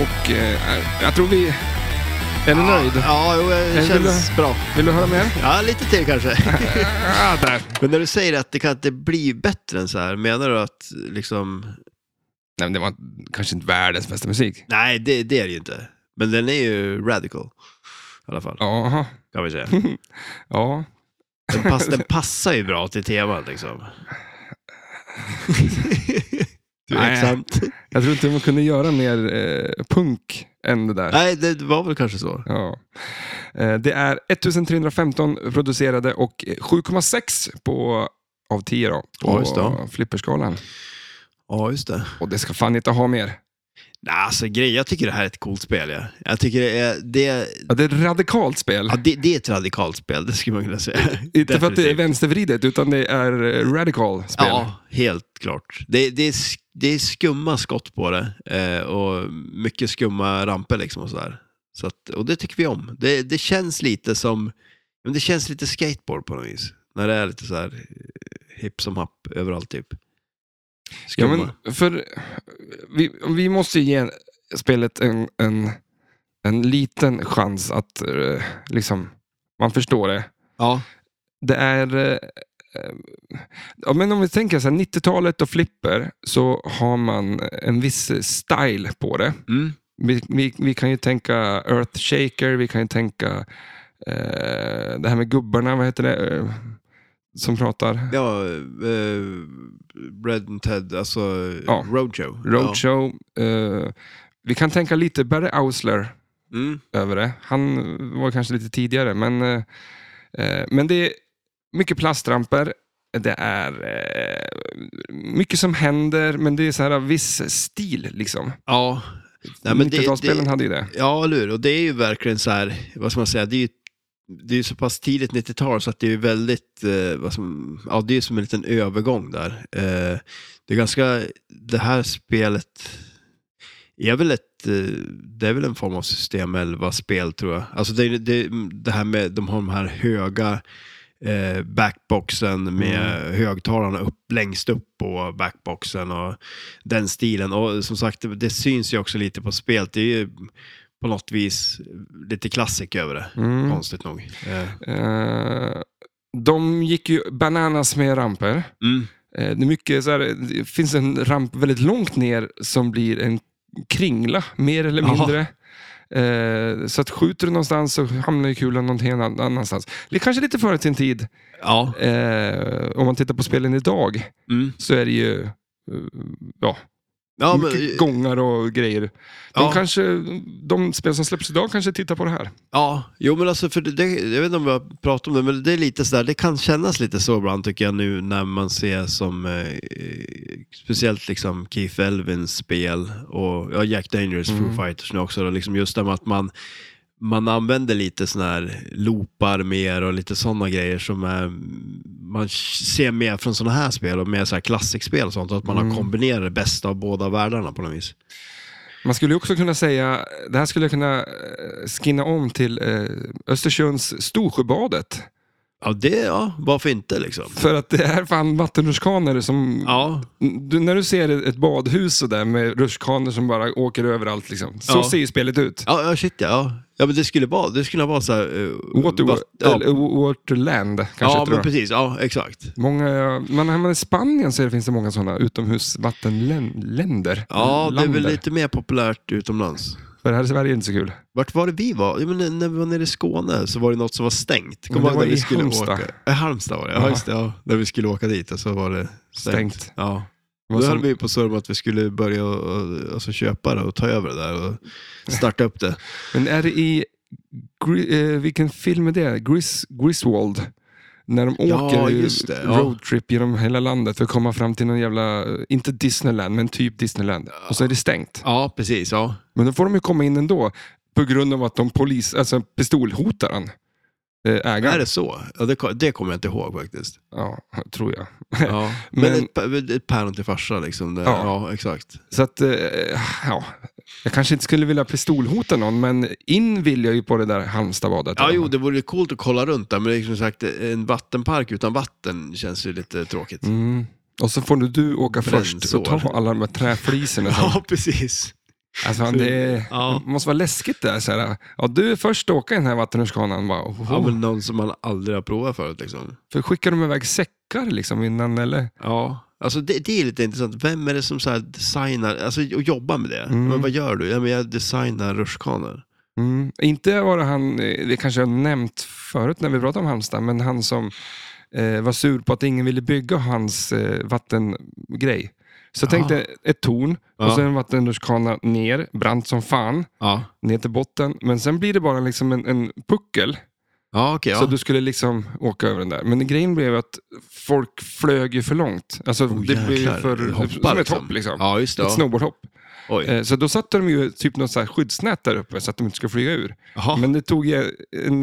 Och eh, jag tror vi... Är du nöjd? Ja, jo, det Jag känns bra. Vill du höra mer? Ja, lite till kanske. Ah, där. Men när du säger att det kan inte bli bättre än så här, menar du att liksom... Nej, men det var kanske inte världens bästa musik. Nej, det, det är det ju inte. Men den är ju radical. I alla fall, Jaha. kan vi säga. Ja. Den, pass, den passar ju bra till temat liksom. Tveksamt. Jag tror inte man kunde göra mer eh, punk än det där. Nej, det var väl kanske så. Ja. Eh, Det är 1315 producerade och eh, 7,6 på, av 10 då, Ja, just på det. flipperskalan. Ja, just det. Och det ska fan inte ha mer. Nej, alltså grej, jag tycker det här är ett coolt spel. Ja. Jag tycker det är... Det, Ja, det är ett radikalt spel. ja, det, det är ett radikalt spel, det skulle man kunna säga. Inte för att det är Definitivt. vänstervridet, utan det är eh, radical spel. Ja, helt klart. Det, det, är, sk- det är skumma skott på det eh, och mycket skumma ramper liksom och sådär. Så att, och det tycker vi om. Det, det känns lite som, men det känns lite skateboard på något vis. När det är lite så här eh, hipp som happ överallt typ. Ja, Skumma. men för, vi, vi måste ju ge spelet en, en, en liten chans att eh, liksom, man förstår det. ja. Det är... eh, eh, Ja, men om vi tänker så här, 90-talet och flipper så har man en viss style på det. Mm. Vi, vi, vi kan ju tänka Earth Shaker, vi kan ju tänka eh, det här med gubbarna, vad heter det, eh, som pratar? ja eh, Red and Ted, alltså Ja. Roadshow. Roadshow. Eh, vi kan tänka lite Barry Ausler Ja. Mm. över det. Han var kanske lite tidigare, men, eh, eh, men det är mycket plastramper. Det är eh, mycket som händer, men det är så här viss stil. liksom. ja. Nej, men det- 90-talsspelen det- hade ju det. Ja, eller hur? Och det är ju verkligen så här, vad ska man säga, det är ju det är ju så pass tidigt 90-tal så att det är ju väldigt, eh, vad som, ja det är ju som en liten övergång där. Eh, det är ganska, det här spelet är väl ett, eh, det är väl en form av system 11-spel tror jag. Alltså det, är- det, det här med, de har de här höga eh, backboxen med Mm. högtalarna upp, längst upp på backboxen och den stilen. Och som sagt, det, det syns ju också lite på spelet. Det är ju på något vis lite klassik över det. Mm. Konstigt nog. Eh, Eh, de gick ju bananas med ramper. Mm. Eh, det, är mycket så här, det finns en ramp väldigt långt ner som blir en kringla, mer eller Jaha. mindre. Eh, så att skjuter du någonstans så hamnar ju kulan någon helt annan- annanstans. Det är kanske lite före sin tid. Ja. Eh, om man tittar på spelen idag Mm. så är det ju eh, ja, ja men, mycket gångar och grejer. De, Ja. kanske, de spel som släpps idag kanske tittar på det här. ja, jo men alltså, för det, det, jag vet inte om vi har pratat om det, men det är lite sådär, det kan kännas lite så ibland tycker jag nu när man ser som, eh, speciellt liksom Keith Elvins spel och ja, Jack Daniels Mm. Foo Fighters nu också, då, liksom just det med att man man använder lite sådana här loopar mer och lite sådana grejer som är, man ser mer från sådana här spel och mer så här klassikspel och sånt. Att man Mm. har kombinerat det bästa av båda världarna på något vis. Man skulle ju också kunna säga, det här skulle jag kunna eh, skinna om till eh, Östersunds Storsjöbadet. Ja, det, ja, varför inte liksom? För att det är fan vattenrutschkanor som... Ja, Du, när du ser ett badhus och där med rutschkanor som bara åker överallt, liksom. så Ja. ser ju spelet ut. ja, ja shit ja. ja. Ja, men det skulle vara, det skulle vara så här... eh, Water, vatt- ja. ja, Waterland kanske ja heter men det. precis. Ja, exakt. Många, men här i Spanien så är det- finns det många sådana utomhusvattenländer. Ja, det är väl Lander. lite mer populärt utomlands. För här i Sverige är det inte så kul. Vart var det vi var? Ja, men när vi var nere i Skåne så var det något som var stängt. Kommer Men det ihåg var när vi i skulle Halmstad. Åka. Äh, Halmstad var det, Ja. ja, just det, ja. När vi skulle åka dit och så var det stängt. Stängt. Ja. Vad Då som- höll vi på att surra om att vi skulle börja och, och, alltså, köpa det och ta över det där och starta upp det. Men är det i... Gri- eh, vilken film är det? Gris, Griswold. När de Ja, åker ju just det, ja. roadtrip genom hela landet för att komma fram till någon jävla, eh, inte Disneyland, men typ Disneyland. Och så är det stängt. Ja, precis. Ja. Men då får de ju komma in ändå på grund av att de polis, alltså pistolhotar han. eh, Är Ägaren. det så? Ja, det, ko- det kommer jag inte ihåg faktiskt. Ja, tror jag. Ja. Men, Men- ett, pa- ett päron till farsa liksom. Det, Ja. ja. exakt. Så att, eh, ja, Jag kanske inte skulle vilja pistolhota någon, men in vill jag ju på det där Halmstadbadet. Ja, jo, det vore ju coolt att kolla runt där, men det är som sagt, en vattenpark utan vatten känns ju lite tråkigt. Mm. Och så får nu du åka först Brännsår. och ta alla de här träfliserna. Ja, precis. Alltså, det Ja. måste vara läskigt där. Så här. Ja, du är först att åka i den här vattenrutschkanan. Bara, oh, Ja, men någon som man aldrig har provat förut liksom. För skickar de iväg säckar liksom innan eller? Ja. Alltså det, det är lite intressant. Vem är det som så här designar, alltså och jobbar med det? Mm. Men vad gör du? Ja, men jag designar rutschkanor. Mm. Inte var det han, eh, det kanske jag har nämnt förut när vi pratade om Halmstad, men han som eh, var sur på att ingen ville bygga hans eh, vattengrej. Så jag tänkte Ah. ett torn och Ja. sen en vattenrutschkana ner, brant som fan, Ja. ner till botten. Men sen blir det bara liksom en, en puckel. Ja, okej. Så ja. du skulle liksom åka över den där. Men grejen blev att folk flög ju för långt. Alltså det blev ju Oh, jäklar. för... Hoppar, som ett liksom. hopp liksom. Ja, just det. Ett Ja. snowboardhopp. Oj. Eh, Så då satte de ju typ något så här skyddsnät där uppe så att de inte skulle flyga ur. Jaha. Men det tog ju en,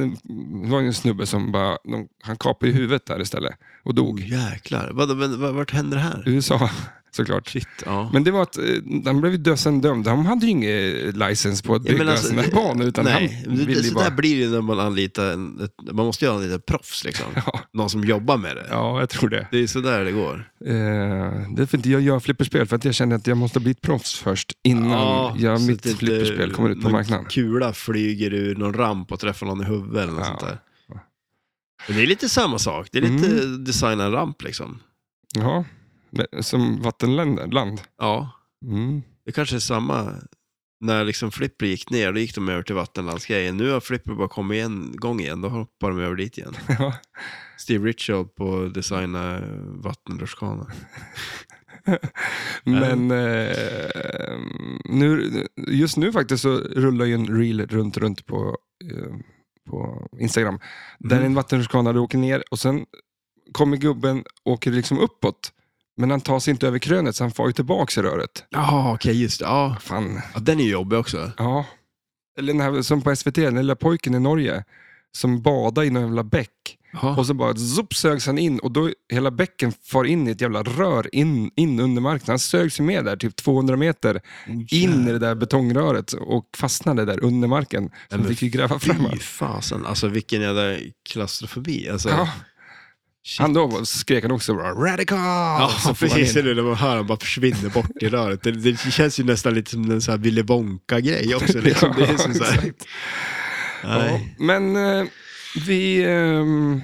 det var ju en snubbe som bara, de, han kapade i huvudet där istället och Oh, dog. jäklar. Vad, vad, vad, vart händer det här? USA såklart. Ja. Men det var att eh, han blev ju dödsen dömd. Han hade ju ingen licens på att Ja, bygga alltså, sådana här det- banor. Utan nej, han det- det, ville ju så där bara... blir det när man anlitar en, ett, man måste ju anlita ett proffs liksom. Ja, Någon som jobbar med det. ja, jag tror det. Det är sådär det går. Eh, det är för att jag gör flipperspel för att jag känner att jag måste bli ett proffs först innan jag, så mitt att inte flipperspel kommer ut på någon marknaden. kula flyger ur någon ramp och träffar någon i huvudet eller något Ja. sånt där. Men det är lite samma sak. Det är lite Mm. designa en ramp liksom. Ja, men som vattenland. land. Ja, Mm. det kanske är samma. När liksom Flipper gick ner, då gick de över till vattenlandsgrejen. Nu har Flipper bara kommit en gång igen, då hoppar de över dit igen. Ja. Steve Richard på att designa vattenrutschkanor. Men eh, nu, just nu faktiskt så rullar ju en reel runt, runt på, eh, på Instagram. Där Mm. en vattenrutschkana du åker ner och sen kommer gubben åker liksom uppåt. Men han tar sig inte över krönet så han far ju tillbaks i röret. Ja, okej, just det. Ja. Fan. ja, den är ju jobbig också. Ja. Eller den här, som på SVT, den lilla pojken i Norge som badar i någon jävla bäck. Jaha. Och så bara zoop, sögs han in och då hela bäcken far in i ett jävla rör in, in under marken. Han sögs ju med där typ 200 meter Oh, in i det där betongröret och fastnade där under marken. Så han men fick ju gräva fram Fy han. fasen, alltså vilken jävla klaustrofobi. Alltså, ja. shit. Han då skrek han också bara radical. Ja, Så for han precis. in. Eller när man hör han bara försvinner bort i röret. Det, det känns ju nästan lite som en sån här Willy Wonka-grej också. Liksom. Det är som så här, Exakt. Ja, nej. men eh, vi ehm,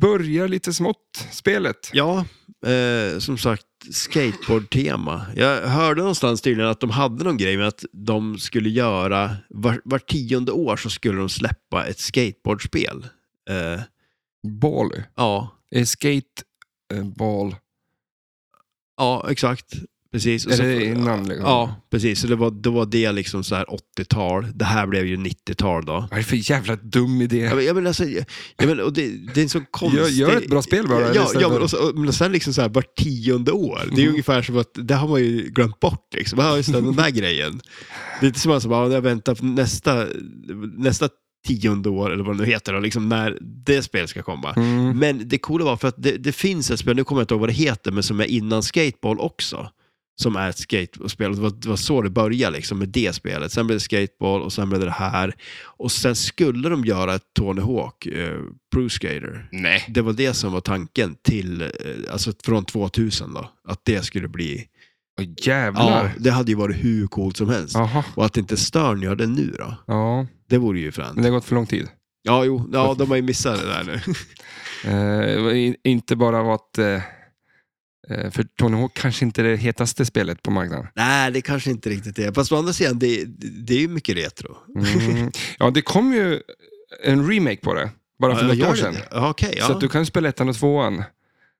börjar lite smått spelet. Ja, eh, som sagt, skateboardtema. Jag hörde någonstans tydligen att de hade någon grej med att de skulle göra, var, var tionde år så skulle de släppa ett skateboardspel. Eh, Ball. ja, Eh, Skate eh, ball. ja, exakt. Precis. Och Är så- det innan? Liksom? Ja, precis. Så det var, då var det liksom så här 80-tal. Det här blev ju 90-tal då. Vad är det för jävla dum idé? Ja, men, ja, men alltså, ja, ja, men, och det, det är en sån konstig... Gör- gör ett bra spel bara, Ja, istället ja men, för- Mhm. och så, och, men sen liksom så här vart tionde år. Det är ju ungefär som att det har man ju glömt bort. Liksom. Ja, just det, den där grejen. Det är inte som att man bara, jag väntar på nästa, nästa tionde år, eller vad det nu heter, då, liksom, när det spelet ska komma. Mm. Men det coola var för att det, det finns ett spel, nu kommer jag inte ihåg vad det heter, men som är innan skateboll också. Som är ett skateboardspel. Det var, det var så det började liksom, med det spelet. Sen blev det skateboll och sen blev det det här. Och sen skulle de göra ett Tony Hawk, eh, Pro Skater. Nej. Det var det som var tanken till, eh, alltså från 2000 då. Att det skulle bli, Åh, ja, jävlar. det hade ju varit hur coolt som helst. Jaha. Och att inte Stern gör det nu då. Ja, Det vore ju fränt. men det har gått för lång tid. Ja, jo, ja, de har ju missat det där nu. Eh, in- inte bara var att... Eh, eh, för Tony Hawk kanske inte är det hetaste spelet på marknaden. Nej, det kanske inte riktigt är. Fast å andra sidan, det, det är ju mycket retro. Mm. ja, det kom ju en remake på det. Bara för Ja, något gör år det sedan. det? Ja, Okej, ja. Så att du kan spela ettan och tvåan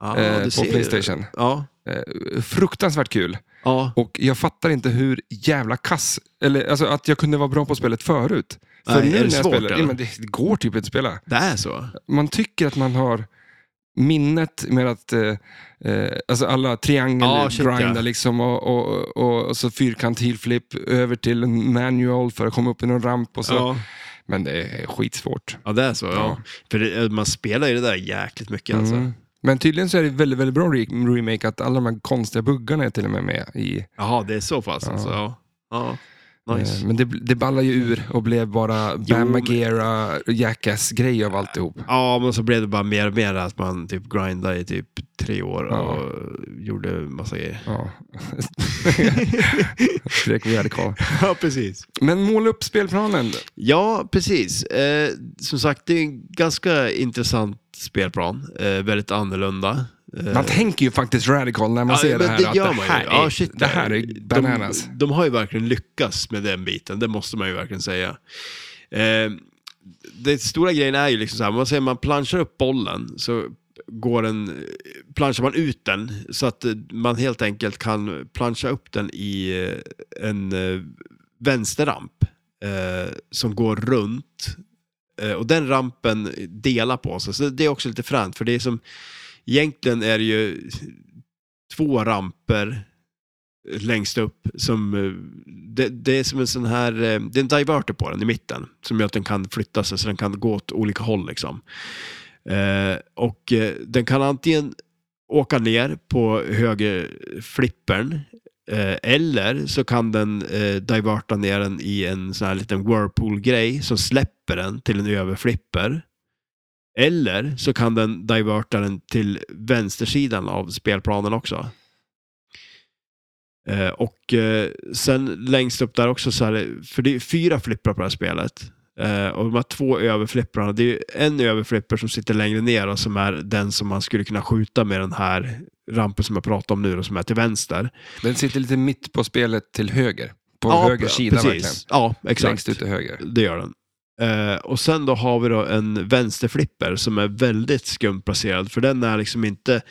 ja, eh, du på ser ju. Playstation. Ja, Eh, fruktansvärt kul. ja. Och jag fattar inte hur jävla kass... Eller alltså att jag kunde vara bra på spelet förut. För Nej, är det när jag svårt, spelar, eller? nej, men det går typ inte att spela. det är så. man tycker att man har minnet med att eh, eh, alltså alla Ja, shit, triangel-grindar ja. liksom och, och, och, och så fyrkant heelflip över till en manual för att komma upp i någon ramp och så. Ja. Men det är skitsvårt. ja, det är så. Ja. Ja. För det, eh, man spelar ju det där jäkligt mycket alltså. Mm. Men tydligen så är det väldigt, väldigt bra re- remake att alla de här konstiga buggarna är till och med med i. Jaha, det är så pass alltså. Ja. Ja. Nice. Eh, Men det, det ballade ju ur och blev bara Jo, men- Bamagera Jackass-grej av alltihop. Ja, men så blev det bara mer och mer att man typ grindade i typ tre år Ja. och gjorde massa grejer. Ja. Skrek vi hade kvar. Ja, precis. Men måla upp spelplanen. Ja, precis. Eh, som sagt, det är en ganska intressant spelplan. Eh, väldigt annorlunda. Eh, Man tänker ju faktiskt radical när man ja, ser det men här. Det att gör det man här ju. är, Ja, shit, det här är bananas. De, de har ju verkligen lyckats med den biten, det måste man ju verkligen säga. Eh, det stora grejen är ju liksom så här, man säger man planchar upp bollen så går den, planchar man ut den så att eh, man helt enkelt kan plancha upp den i eh, en eh, vänsterramp eh, som går runt. Eh, och den rampen delar på sig, så det är också lite fränt för det är som, egentligen är det ju två ramper eh, längst upp som, eh, det, det är som en sån här, eh, det är en diverter på den i mitten som gör att den kan flytta sig så den kan gå åt olika håll liksom. Eh, och eh, den kan antingen åka ner på höger flippern eh, eller så kan den eh, diverta ner den i en sån här liten whirlpool-grej som släpper den till en överflipper. Eller så kan den diverta den till vänstersidan av spelplanen också. Eh, och eh, sen längst upp där också så är det, för det är fyra flipprar på det här spelet. Eh, och de här två överflipprarna, det är ju en överflipper som sitter längre ner och som är den som man skulle kunna skjuta med den här rampen som jag pratade om nu och som är till vänster. Den sitter lite mitt på spelet till höger. På höger sida verkligen. Ja, exakt. Längst ut till höger. Det gör den. Eh, och sen då har vi då en vänsterflipper som är väldigt skumt placerad. För den är liksom inte...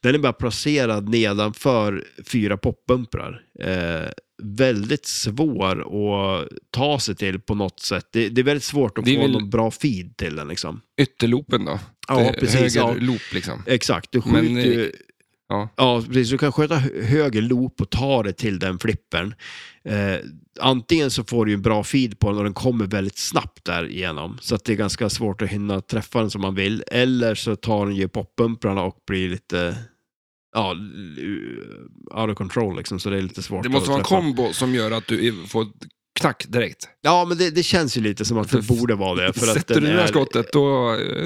Den är bara placerad nedanför fyra poppumprar. Eh, väldigt svår att ta sig till på något sätt. Det, det är väldigt svårt att Det är få väl- någon bra feed till den liksom. Ytterloopen då. Ja, Det är precis, Höger ja. Eh, loop liksom. Exakt, du skjuter Men, eh, ju... ja. Ja, precis. Du kan sköta hö- höger loop och ta det till den flippern. Eh, antingen så får du ju en bra feed på den och den kommer väldigt snabbt där igenom. Så att det är ganska svårt att hinna träffa den som man vill. Eller så tar den ju poppumprarna och blir lite... Ja, l- out of control liksom, så det är lite svårt Det måste att vara en träffa. kombo som gör att du i- får ett knack direkt. Ja, men det, det känns ju lite som att det borde vara det. För att Sätter den du det där är- skottet då,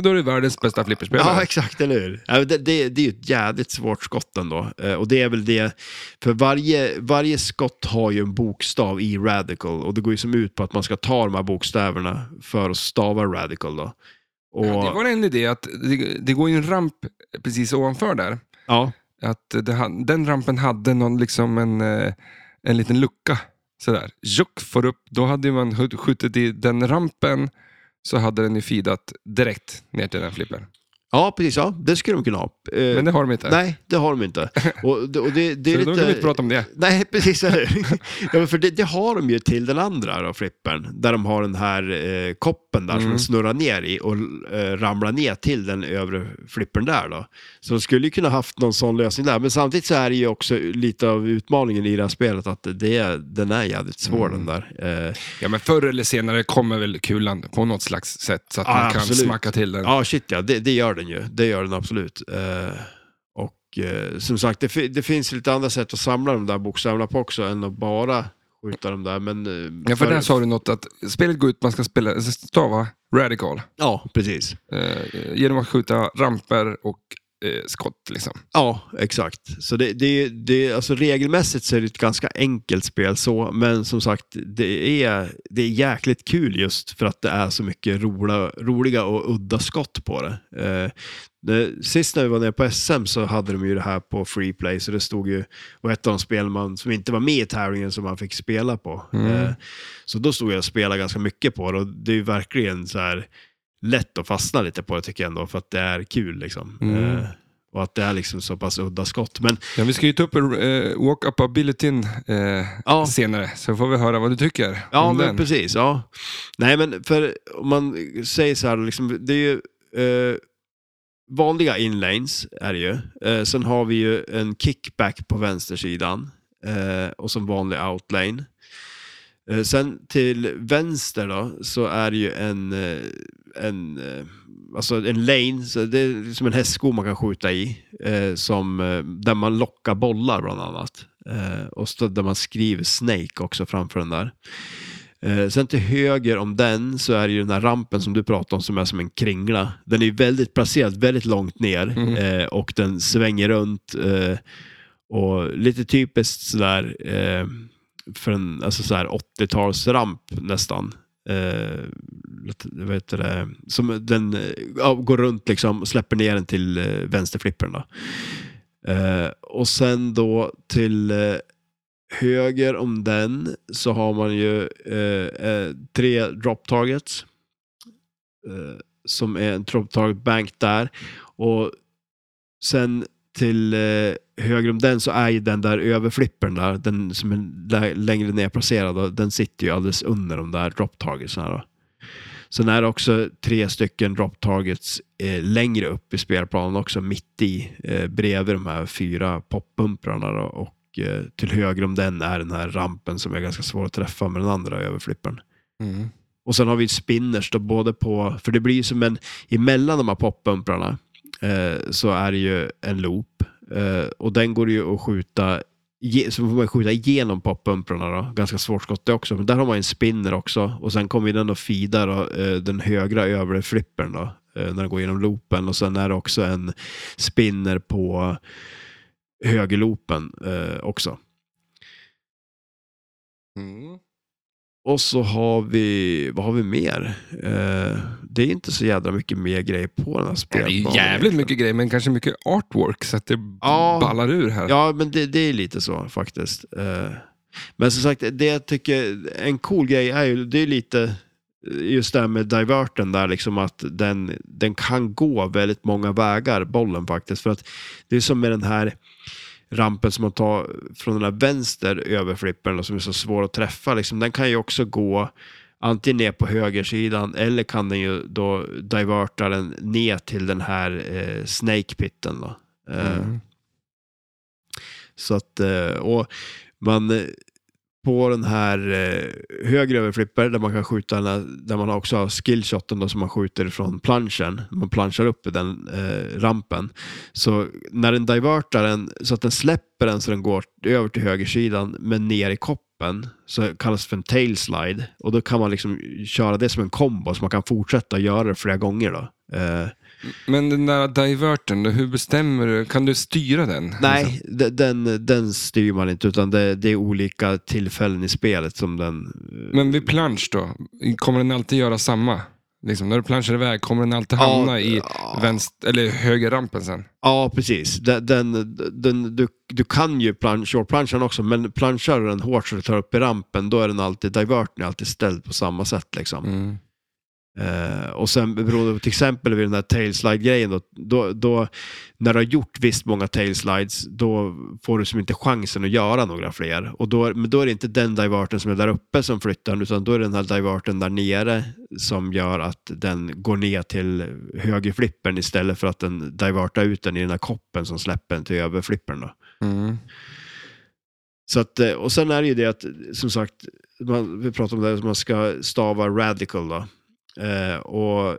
då är du världens bästa flipperspelare. Ja, exakt, eller hur? Ja, Det, det, det är ju ett jävligt svårt skott ändå. Eh, Och det är väl det, för varje, varje skott har ju en bokstav i radical och det går ju som ut på att man ska ta de här bokstäverna för att stava radical då. Och, Ja, det var en idé att det, det går ju en ramp precis ovanför där. ja, Att det, ha- den rampen hade någon liksom en, eh, en liten lucka. Sådär. Juck får upp. Då hade man hu- skjutit i den rampen så hade den ju feedat direkt ner till den flippen. ja, precis. Ja, det skulle de kunna ha. Eh, Men det har de inte. Nej, det har de inte. Och, det- och det, det är så lite... då kan vi inte prata om det. Nej, precis. Eller? hur? ja, men för det, det har de ju till den andra då, flippern, där de har den här eh, koppen där som Mm. den snurrar ner i och eh, ramlar ner till den övre flippern där. Då. Så de skulle ju kunna haft någon sån lösning där, men samtidigt så är det ju också lite av utmaningen i det här spelet att det, den är jävligt svår Mm. den där. Eh, Ja, men förr eller senare kommer väl kulan på något slags sätt så att Ja, man kan absolut. smacka till den. Ja, shit ja. Det, det gör den ju. Det gör den absolut. Eh, och eh, som sagt, det, fi- det finns lite andra sätt att samla de där bokstäverna på också än att bara skjuta dem där. Men, eh, Ja, för där sa du något att spelet går ut man ska spela, stava radical Ja, precis. eh, genom att skjuta ramper och eh, skott. Liksom. Ja, exakt. Så det, det, det, alltså regelmässigt så är det ett ganska enkelt spel så, men som sagt, det är, det är jäkligt kul just för att det är så mycket roliga, roliga och udda skott på det. Eh, det. Sist när vi var nere på SM så hade de ju det här på Freeplay, så det stod ju, var ett av de spel man, som inte var med i tävlingen som man fick spela på. Eh, så då stod jag och spelade ganska mycket på det och det är ju verkligen så här lätt att fastna lite på det tycker jag ändå, för att det är kul liksom. Mm. Eh, och att det är liksom så pass udda skott. Men Ja, vi ska ju ta upp eh, walk-up abilityn eh, Ja. senare, så får vi höra vad du tycker ja, om men den. precis. Ja. Nej, men för om man säger så här, liksom, det är ju eh, vanliga inlanes är det ju. Eh, sen har vi ju en kickback på vänstersidan eh, och som vanlig outlane. Eh, sen till vänster då, så är det ju en, eh, en, eh, alltså en lane, så det är som en hästsko man kan skjuta i, eh, som, eh, där man lockar bollar bland annat. Eh, och så där man skriver Snake också framför den där. Eh, sen till höger om den så är det ju den här rampen som du pratade om som är som en kringla. Den är ju väldigt placerad väldigt långt ner eh, och den svänger runt. Eh, och lite typiskt sådär eh, för en alltså sådär 80-talsramp nästan. Eh, lite- vad heter det? Som den eh, ja, går runt liksom och släpper ner den till eh, vänsterflippern. Då. Eh, och sen då till eh, höger om den så har man ju eh, eh, tre drop targets. Eh, som är en drop target bank där. Och sen till eh, höger om den så är ju den där överflippern där, den som är lä- längre ner placerad, då, den sitter ju alldeles under de där drop targets. Här då. Sen är det också tre stycken drop targets eh, längre upp i spelplanen också, mitt i, eh, bredvid de här fyra poppumprarna. Då, och eh, till höger om den är den här rampen som är ganska svår att träffa med den andra överflippern. Mm. Och sen har vi spinners då både på, för det blir ju som en, emellan de här poppumprarna eh, så är det ju en loop. Eh, och den går det ju att skjuta, ge, så får man skjuta igenom poppumprarna då. Ganska svårt skott det också. Men där har man ju en spinner också. Och sen kommer ju den att feeda då, eh, den högra övre flippern då. Eh, när den går igenom loopen. Och sen är det också en spinner på högerloopen eh, också. Mm. Och så har vi, vad har vi mer? Eh, det är inte så jädra mycket mer grejer på den Det här är spelplanen. ju jävligt mycket grejer, men kanske mycket artwork så att det Ja. ballar ur här. Ja, men det, det är lite så faktiskt. Eh, men som sagt, det jag tycker, en cool grej är ju, det är lite just det här med diverten där, liksom att den, den kan gå väldigt många vägar, bollen faktiskt. För att det är som med den här rampen som man tar från den här vänster överflippen och som är så svår att träffa, liksom, den kan ju också gå antingen ner på högersidan eller kan den ju då diverta den ner till den här eh, snake pitten då. Eh, Mm. så att, eh, och man eh, på den här eh, högre överflipper där man kan skjuta den här, där man också har skillshoten då som man skjuter från planschen, man planchar upp i den eh, rampen. Så när den divertar den så att den släpper den så den går över till högersidan men ner i koppen så kallas det för en tail slide och då kan man liksom köra det som en kombo så man kan fortsätta göra det flera gånger då. Eh, Men den där diverten, hur bestämmer du? Kan du styra den? Alltså, Nej, de- den, den styr man inte, utan det, det är olika tillfällen i spelet som den... eh, Men vid plansch då, kommer den alltid göra samma? Liksom, när du planschar iväg, kommer den alltid hamna i ja, vänster, eller högerrampen sen? ja, precis. Den, den, den, du, du kan ju plansch, planschen också, men planschar du den hårt så du tar upp i rampen, då är den alltid, diverten är alltid ställd på samma sätt. Liksom. Mm. Eh, och sen beroende på till exempel vid den här tailslide-grejen, då, då, då, när du har gjort visst många tailslides, då får du som inte chansen att göra några fler. Och då, men då är det inte den diverten som är där uppe som flyttar den, utan då är det den här diverten där nere som gör att den går ner till högerflippen istället för att den divertar ut den i den här koppen som släpper den till överflippen. Då. Mm. Så att, eh, och sen är det ju det att, som sagt, man, vi pratar om det här att man ska stava radical då. Eh, och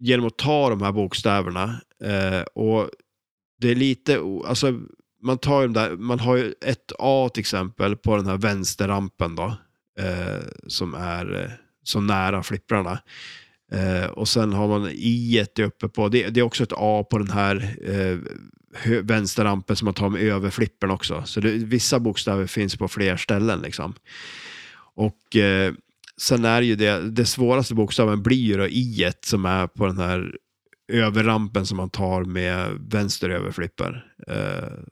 genom att ta de här bokstäverna eh, och det är lite, o- alltså man tar ju de där, man har ju ett A till exempel på den här vänsterrampen då, eh, som är eh, så nära flipprarna. Eh, och sen har man I uppe på, det, det är också ett A på den här eh, hö- vänsterrampen som man tar med överflippen också. Så det, vissa bokstäver finns på fler ställen liksom. Och eh, sen är det ju det, det svåraste bokstaven blir ju då i som är på den här överrampen som man tar med vänster överflipper. Eh,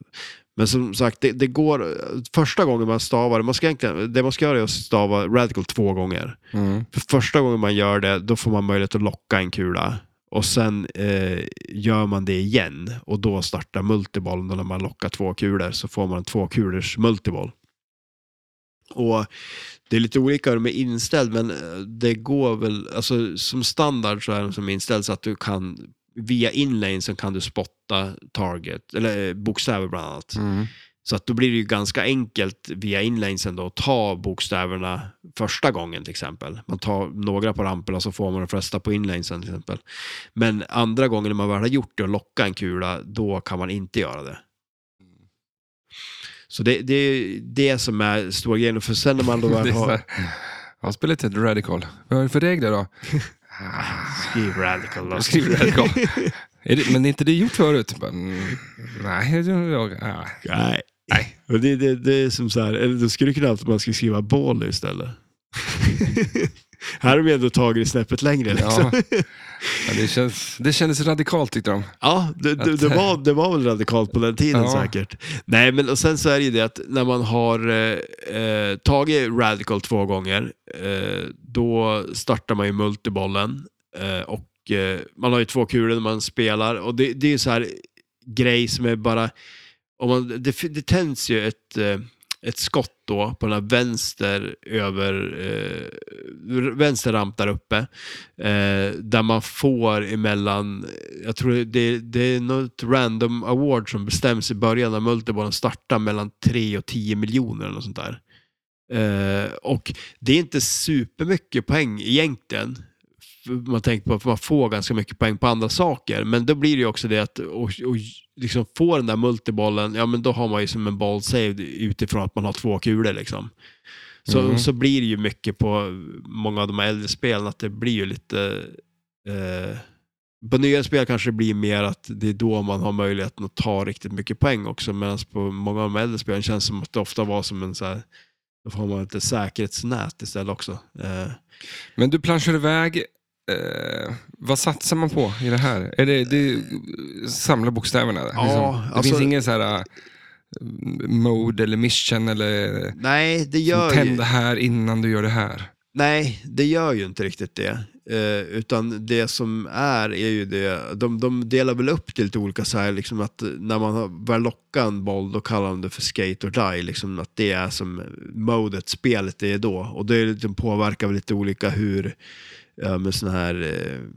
men som sagt, det, det går, första gången man stavar, man ska egentligen, det man ska göra är att stava radical två gånger. Mm. För första gången man gör det, då får man möjlighet att locka en kula. Och sen eh, gör man det igen och då startar multibollen. Och när man lockar två kulor så får man en tvåkulors multiboll. Och det är lite olika hur de är inställd, men eh, det går väl, alltså som standard så är de som inställd så att du kan, via inlane så kan du spotta target, eller eh, bokstäver bland annat. Mm. Så att då blir det ju ganska enkelt via inlanesen då att ta bokstäverna första gången till exempel. Man tar några på rampen och så får man de flesta på inlanesen till exempel. Men andra gången när man väl har gjort det och lockat en kula, då kan man inte göra det. Så det, det är det som är stora grejen. För sen när man då Det väl är så har... här, jag spelar lite Radical. Vad är det för regler då? Skriv radical då. Jag skriver Radical. är det, men är inte det gjort förut? Bara, mm, nej, jag, jag, ah. Nej. Nej. Och det, det, det är som så här, eller då skulle det kunna vara att man skulle skriva ball istället. här har vi ändå tagit det snäppet längre. Liksom. ja. Ja, det, känns, det kändes radikalt tyckte de. Ja, det, det, det, var, det var väl radikalt på den tiden Ja. säkert. Nej, men och sen så är det ju det att när man har eh, eh, tagit radical två gånger, eh, då startar man ju multibollen. Eh, och eh, man har ju två kulor när man spelar. Och det, det är ju så här grej som är bara... Om man, det, det tänds ju ett... Eh, ett skott då på den här vänster över eh, vänster ramp där uppe eh, där man får emellan jag tror det, det är något random award som bestäms i början när multibollen startar mellan 3 och 10 miljoner eller något sånt där. Eh, och det är inte supermycket poäng egentligen. För Man tänker på att man får ganska mycket poäng på andra saker, men då blir det ju också det att och, och liksom få den där multibollen, ja men då har man ju som en ball saved utifrån att man har två kulor liksom. Så, Mhm. så blir det ju mycket på många av de här äldre spelen att det blir ju lite eh, på nya spel kanske det blir mer att det är då man har möjligheten att ta riktigt mycket poäng också. Medan på många av de äldre spelen känns det som att det ofta var som en så här, då får man lite säkerhetsnät istället också. Eh, Men du planschar iväg. Eh, vad satsar man på i det här? Är det, det samla bokstäverna? Ja, liksom? Det alltså- finns ingen så här eh, mode eller mission eller nej, det som, gör tänd ju, det här innan du gör det här. nej, det gör ju inte riktigt det. Eh, utan det som är, är ju det, de, de delar väl upp det lite olika så här, liksom att när man har väl locka en boll, då kallar de det för skate or die, liksom att det är som modet, spelet är då. Och det är lite- påverkar väl lite olika hur, ja, med sådana här, eh,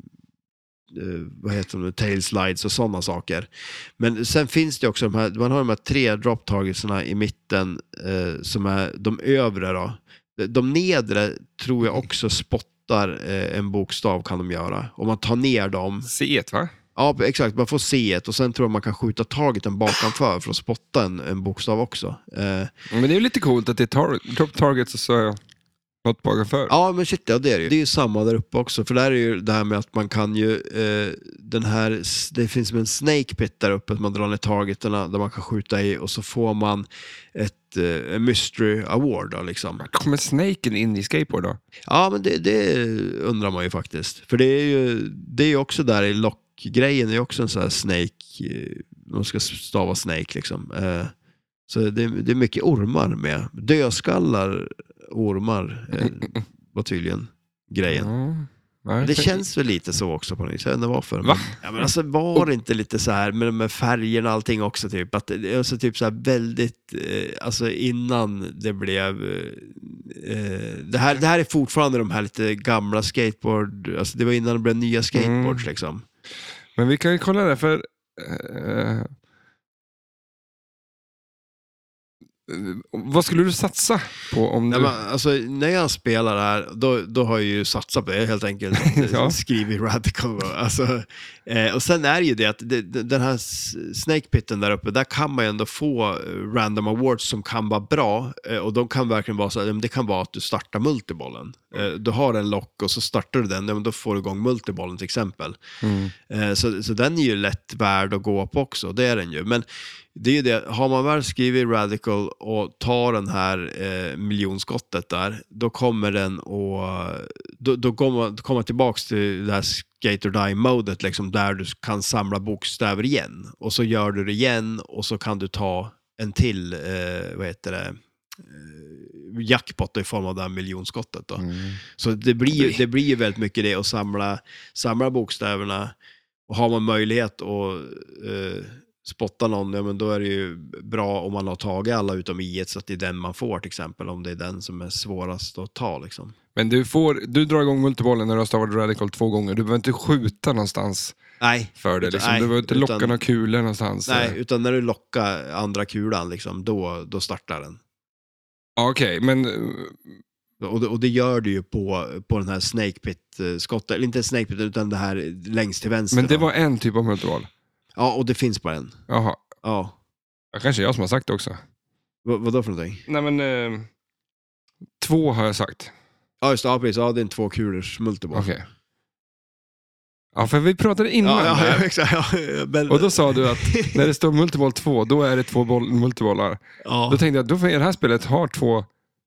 eh, vad heter de, tail slides och sådana saker. Men sen finns det också de här, man har de här tre drop targetsarna i mitten eh, som är de övre då. De- De nedre tror jag också spottar eh, en bokstav kan de göra. Om man tar ner dem. C1 va? Ja, exakt. Man får se ett och sen tror jag man kan skjuta targeten bakanför för att spotta en, en bokstav också. Eh, Men det är ju lite coolt att det är tar- drop targets och så är något bakom för. Ja, men shit, ja, det är det ju. Det är ju samma där uppe också, för där är ju det här med att man kan ju, eh, den här, s- det finns som en snake pit där uppe, att man drar ner targeterna där man kan skjuta i och så får man ett eh, mystery award då, liksom. Kommer snaken in i skateboard då? Ja, men det, det undrar man ju faktiskt. För det är ju det är ju också där i lockgrejen, det är också en sån här snake, eh, de ska stava snake liksom. Eh, Så det, det är mycket ormar med. Dödskallar, ormar eh, var tydligen grejen. Ja. Nej, Det för- känns väl lite så också på något vis, jag vet inte varför. Va? Ja, men alltså var det inte lite så här med, med färgerna och allting också typ? Att, det- alltså typ så här väldigt, eh, alltså innan det blev... Eh, det, här, det här är fortfarande de här lite gamla skateboard, alltså det var innan det blev nya skateboards Mm. liksom. Men vi kan ju kolla där, för... eh, vad skulle du satsa på om Ja, du... men, alltså, när jag spelar det här, då, då har jag ju satsat på det helt enkelt. Ja. Skrivit radical. då. Alltså, eh, och sen är det ju det att det, det- den här s- snake pitten där uppe, där kan man ju ändå få eh, random awards som kan vara bra. Eh, och de kan verkligen vara så här, ja, men det kan vara att du startar multibollen. Mm. Eh, du har en lock och så startar du den, ja, men då får du igång multibollen till exempel. Mm. Eh, Så, så den är ju lätt värd att gå på också, det är den ju. Men det är ju det, har man väl skrivit Radical och tar den här eh, miljonskottet där, då kommer den att... Då, då kommer man kommer tillbaka till det här Skate or Die-modet, liksom, där du kan samla bokstäver igen. Och så gör du det igen och så kan du ta en till, eh, vad heter det, eh, jackpot i form av det här miljonskottet. Mm. Då. Så det blir, ju, det blir ju väldigt mycket det att samla, samla bokstäverna. Och har man möjlighet att eh, spotta någon, ja, men då är det ju bra om man har tagit alla utom i ett så att det är den man får till exempel, om det är den som är svårast att ta. Liksom. Men du, får, du drar igång multibollen när du har stavat radical två gånger. Du behöver inte skjuta någonstans Nej, för det. Utan- Liksom. nej, du behöver inte locka utan- några kulor någonstans. nej, utan när du lockar andra kulan, liksom, då, då startar den. Ja, Okej, men... eh, Och det, och det gör du ju på, på den här snake pit-skottet, eller inte snake pit, utan det här längst till vänster. Men det då. var en typ av multiboll. Ja, och det finns bara en. Jaha. Ja. Ja, kanske jag som har sagt det också. Vad, vadå för någonting? Nej men, eh, två har jag sagt. Ja, just det. Ja, precis. Ja, det är en tvåkulers multiball. Okej. Ja, för vi pratade innan Ja, ja, där. ja, exakt. Ja, men, Och då sa du att när det står multiboll 2, då är det två boll, multibollar. Då ja, tänkte jag, då får det här spelet har två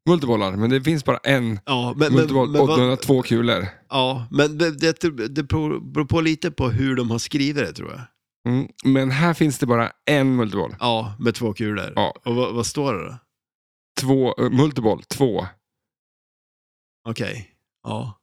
multibollar, men det finns bara en ja, men, men, multiboll men, och den har vad, två kulor. ja, men det, det, det beror beror på lite på hur de har skrivit det, tror jag. Mm. Men här finns det bara en multiboll. Ja, med två kulor. Ja. Och vad, vad står det då? Två, eh, multiboll 2. Okej. Ja.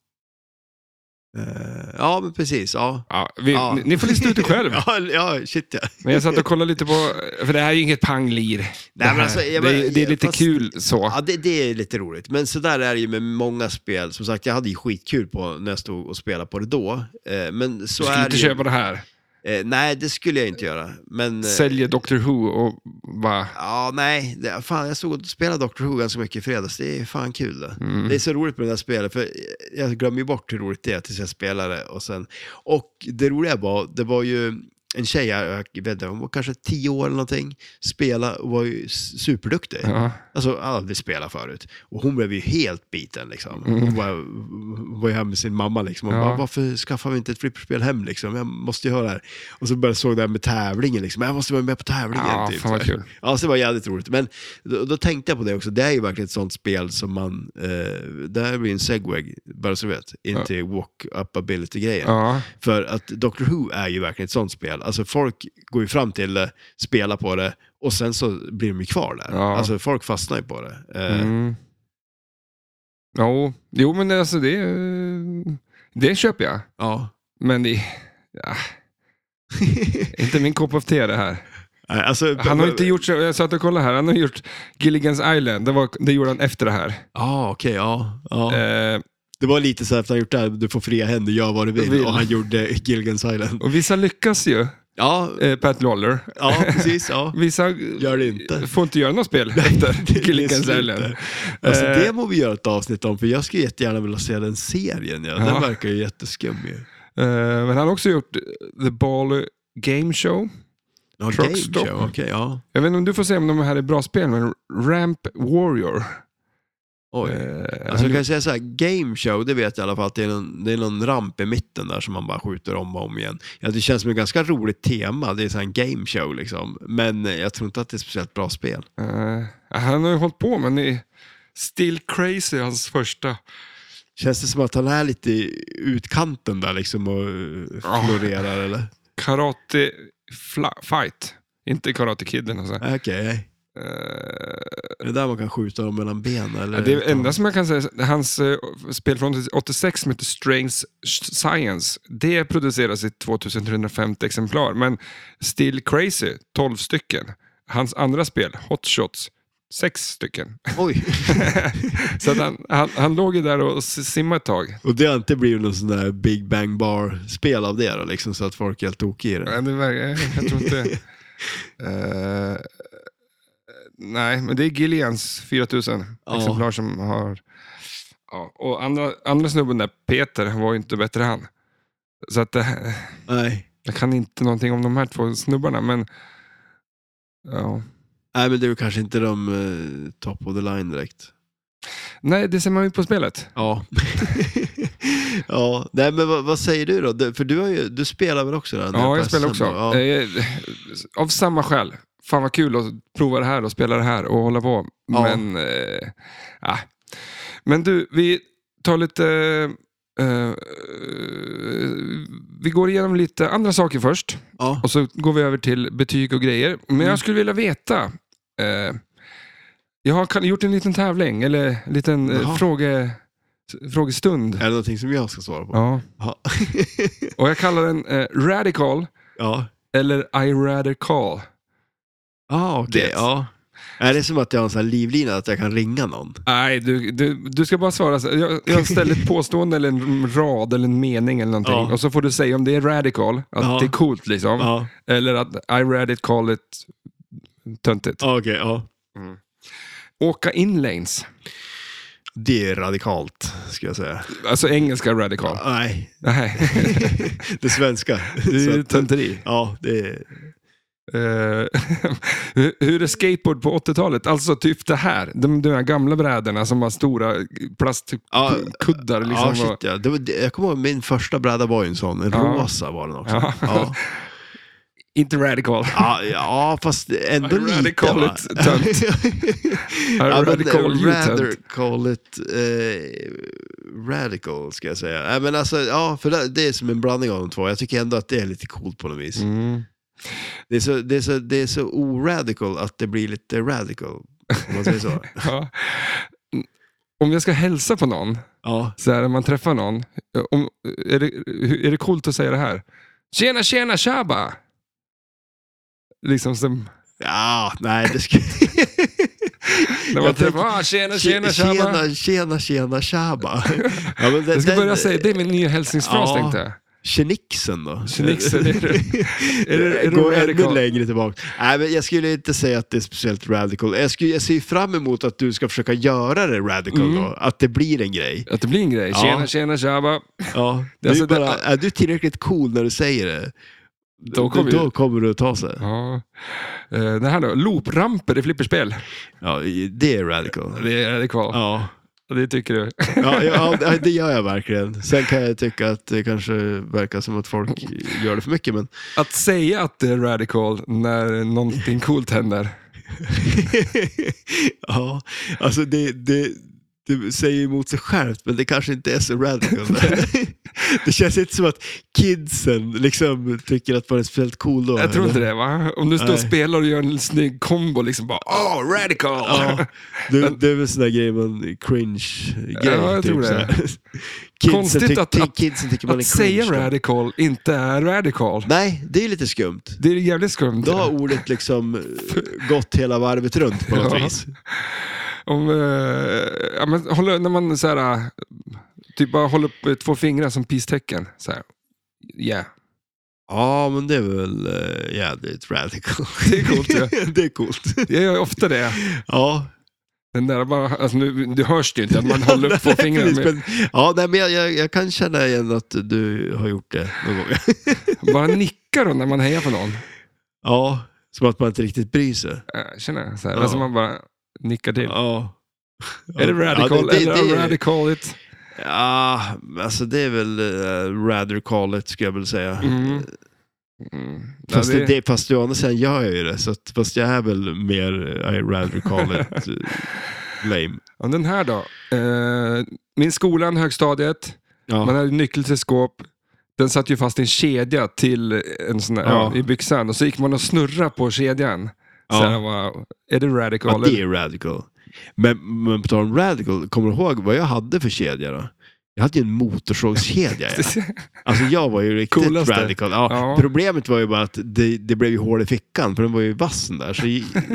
Eh, ja, men precis. Ja. Ja, vi, Ja. ni, ni får lista ut det själv. ja, ja, shit ja. Men jag satt och kollade lite på, eh, för det här är ju inget panglir. Det, men här. alltså, jag det, menar, är- det är lite fast- kul så. Ja, det, det är lite roligt. Men så där är det ju med många spel. Som sagt, jag hade ju skitkul på när jag stod och spelade på det då. Eh, Men så Du skulle är det inte ju. köpa det här. Eh, Nej, det skulle jag inte göra. Men... eh, Säljer Doctor Who och bara... Ja, nej. Det, fan, jag såg och spelade Dr. Who ganska mycket i fredags. Det är fan kul det. Mm. Det är så roligt med det här spelet, för jag glömmer ju bort hur roligt det är tills jag spelar det. Och, sen, och det roliga var, det var ju en tjej, jag jag vet inte, hon var kanske tio år eller någonting, spela och var ju s- superduktig. Ja. Alltså aldrig spelat förut. Och hon blev ju helt biten liksom. Hon var, hon var ju hemma med sin mamma liksom. Hon Mm. Ja. bara, varför skaffar vi inte ett flipperspel hem liksom? Jag måste ju ha det här. Och så började såg det här med tävlingen liksom. Jag måste vara med på tävlingen. Ja, typ. ah, fan vad Så- kul. Ja, så det var jävligt roligt. Men då, då tänkte jag på det också. Det är ju verkligen ett sånt spel som man... Eh, det här blir en segway, bara så du vet, in till walk-up ability-grejen. Ja. För att Doctor Who är ju verkligen ett sånt spel. Alltså folk går ju fram till det, spelar på det och sen så blir de ju kvar där. Ja. Alltså folk fastnar ju på det. Eh, Mm. Jo, jo, men alltså det, det köper jag. Ja. Men det, ja, inte min kopp av te det här. Nej, alltså, Han har inte gjort, så- jag satt och kollade här, han har gjort Gilligan's Island, det, var, det gjorde han efter det här. Ja, okej, ja. ja. Eh, Det var lite så här efter han gjort det här, du får fria händer, gör vad du vill. Vill. Och han gjorde Gilgan's Island. och vissa lyckas ju, Ja, eh, Pat Lawler. ja precis. Ja. Vissa Gör det inte. får inte göra något spel efter det är slut Gilligan's Island. där. Alltså, Eh. det må vi göra ett avsnitt om, för jag skulle jättegärna vilja se den serien. Ja. Den Ja. verkar ju jätteskum. ju. Eh, men han har också gjort The Ball Game Show. Ja, Truck Game Stop. Show, okej, ja. Jag vet inte om du får se om de här är bra spel, men Ramp Warrior. Oj. Eh, Alltså han- jag kan ju säga så här, game show, det vet jag i alla fall att det är, någon, det är någon ramp i mitten där som man bara skjuter om och om igen. Ja, det känns som ett ganska roligt tema, det är så här en game show liksom. Men eh, jag tror inte att det är ett speciellt bra spel. Eh, han har ju hållit på, men det är Still Crazy, hans första. Känns det som att han är lite i utkanten där liksom och eh, Ja. florerar eller? Karate fla- Fight. Inte Karate Kidden alltså. Okej, är det där man kan skjuta dem mellan benen eller? Eh. det är enda som jag kan säga, hans eh, spel från 86 som heter Strange Science, det produceras i 2350 exemplar, men Still Crazy, 12 stycken. Hans andra spel, Hot Shots, 6 stycken. Oj, Så att han, han, han låg ju där och s- simmade ett tag. och det har inte blivit någon sån där Big Bang Bar-spel av det då liksom så att folk är helt tokiga i det? Nej, det verkar, jag tror inte... Eh, nej, men det är Gillians 4000 Ja. exemplar som har... Ja, och andra, andra snubben där, Peter, han var ju inte bättre han. Så att det, Nej. jag kan inte någonting om de här två snubbarna, men... Ja. Nej, men det är väl kanske inte de eh, top of the line direkt. Nej, det ser man ju på spelet. Ja. ja, nej men vad, vad säger du då? Du- För du, har ju, du spelar väl också? Där, Ja, på jag spelar SM också. då? Ja. Eh, av samma skäl. Fan vad kul att prova det här och spela det här och hålla på. Ja. Men, eh, ah. Men du, vi tar lite... eh, vi går igenom lite andra saker först Ja. och så går vi över till betyg och grejer. Men Mm. jag skulle vilja veta. Eh, jag har kan- gjort en liten tävling, eller en liten eh, Jaha. Eh. fråge, frågestund. Är det någonting som jag ska svara på? Ja. Ja. Och jag kallar den eh, Radical ja. eller I rather call. Ah, okej. Det. Ja. Är det som att jag har en sån här livlina att jag kan ringa någon? Nej, du, du, du ska bara svara. så- Jag, jag ställer ett påstående eller en rad eller en mening eller någonting. Ja. Och så får du säga om det är radical, att Ja. det är coolt liksom. Ja, Eller att I read it, call it töntigt. ah, okej. ja. Åka in lanes. Det är radikalt, ska jag säga. Alltså engelska radical. Nej, Nej, det svenska. det Så är att- tönteri. Ja, det är... Eh, hur- hur är skateboard på 80-talet? Alltså typ det här. De, de här gamla brädorna som var stora Ja, plastkuddar. Liksom, ja, shit, och, ja. Det var, det- jag kommer ihåg min första bräda var ju en sån. En Ja. rosa var den också. Ja. Ja. inte radical. Ja, ja, fast ändå Rather lite. call va? it tönt. ja, men, radical eh, you rather tönt. call it eh, radical, ska jag säga. Nej, men alltså, ja, för det, det är som en blandning av de två. Jag tycker ändå att det är lite coolt på något vis. Mm. Det, är så, det, är så, det är så oradical att det blir lite radical, om man säger så. Ja. Om jag ska hälsa på någon, ja. så här, när man träffar någon, om, är, det, hur- är det coolt att säga det här? Tjena, tjena, tjaba! Liksom som... Ja, nej, det ska... När man Jag träffar, tänker- ah, tjena, tjena, Tjena, tjaba! tjena, tjena, tjena, tjaba. Ja, men Jag ska den- börja säga, det är min nya hälsningsfras Ja. tänkte jag. Chenixen då? Chenixen, är det- är det- är det Går ännu radical? längre tillbaka. Nej, men jag skulle inte säga att det är speciellt radical. Jag, skulle, jag ser ju fram emot att du ska försöka göra det radical Mm. då. Att det blir en grej. Att det blir en grej. Ja. Tjena, tjena, tjaba! Ja. Du Alltså, är, bara, det- är du tillräckligt cool när du säger det, Då kommer då ju... kommer du att ta sig. Ja. Eh, Det här då, loopramper i flipperspel. Ja, det är radical. Det är det kvar. Ja. Det tycker du. Ja, ja, ja, det gör jag verkligen. Sen kan jag tycka att det kanske verkar som att folk gör det för mycket, men... Att säga att det är radical när någonting coolt händer. ja, alltså det, det, det säger emot sig självt, men det kanske inte är så radical. det känns inte som att kidsen liksom tycker att man är speciellt cool då. Jag tror inte det va? Om du står och Nej. spelar och gör en snygg kombo liksom bara åh, radical! Ja, det, det är väl sån där grej man, cringe-grej. typ Ja, jag tror det. så här. Kidsen, Konstigt tyck, att- ty- att- kidsen tycker man Att är cringe. säga då. radical inte är radical. Nej, det är lite skumt. Det är jävligt skumt. Då har ordet liksom eh, gått hela varvet runt på något Ja. vis. Om, eh, ja, men, håller, när man så här, eh, typ bara håller upp eh, två fingrar som peace-tecken. Så här. Yeah. Ja, men det är väl eh, jädrigt radical. Det är coolt, ja. det är coolt. Jag gör ofta det. Ja, Den där bara, alltså, nu, det hörs det ju inte att man håller upp två Nej, fingrar. precis, Men men, ja, nej, men jag, jag, jag kan känna igen att du har gjort det någon gång. bara nickar då när man hejar på någon. Ja, som att man inte riktigt bryr sig. Eh, Känner, så här. Ja. Alltså man bara nickar till. Ja. Ja. Är det radical Ja, det, det, eller det, radical it? Ja, alltså det är väl uh, rather call it, skulle jag väl säga. Mm. Mm. Ja, Fast, det- det, det, fast å andra sidan gör jag ju det, så att, fast jag är väl mer eh, I rather call it eh, lame. Ja, den här då. Eh, min skolan, högstadiet, Ja. man hade nyckel till skåp. Den satt ju fast i en kedja till en sån här, ja. Ja. i byxan och så gick man och snurra på kedjan. Så Ja. här, wow, är det Ja, radical? det är radical. Men, men på tal om radical, kommer du ihåg vad jag hade för kedja då? Jag hade ju en motorsågskedja. ja. Alltså jag var ju riktigt Coolaste. radical. Ja, Ja. Problemet var ju bara att det, det blev ju hål i fickan, för den var ju vass den där. Så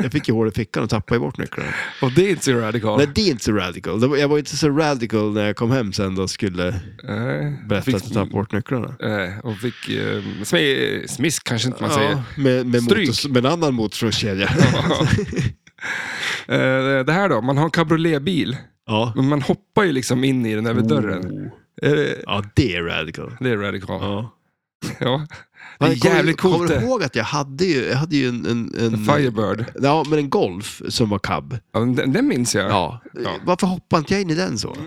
jag fick ju hål i fickan och tappade ju bort nycklarna. och det är inte så radical. Nej, det är inte så radical. Det var- Jag var ju inte så radical när jag kom hem sen då och skulle Nej. berätta Fick- att jag tappade bort nycklarna. Eh, och fick eh, smi- smisk kanske inte man säger. Ja, med, med, Stryk. motors, med en annan motorsågskedja. Eh, det här då, man har en cabrioletbil. ja. Men man hoppar ju liksom in i den över dörren. Oh. Är det, Ja, det är radical. det är radical. Ja. Ja. Det Men är kommer- jävligt coolt Kommer du det. ihåg att jag hade ju, jag hade ju en, en, en, Firebird. ja, men en Golf som var cab. Ja, men den, den minns jag. Ja. Ja. Varför hoppade inte jag in i den så?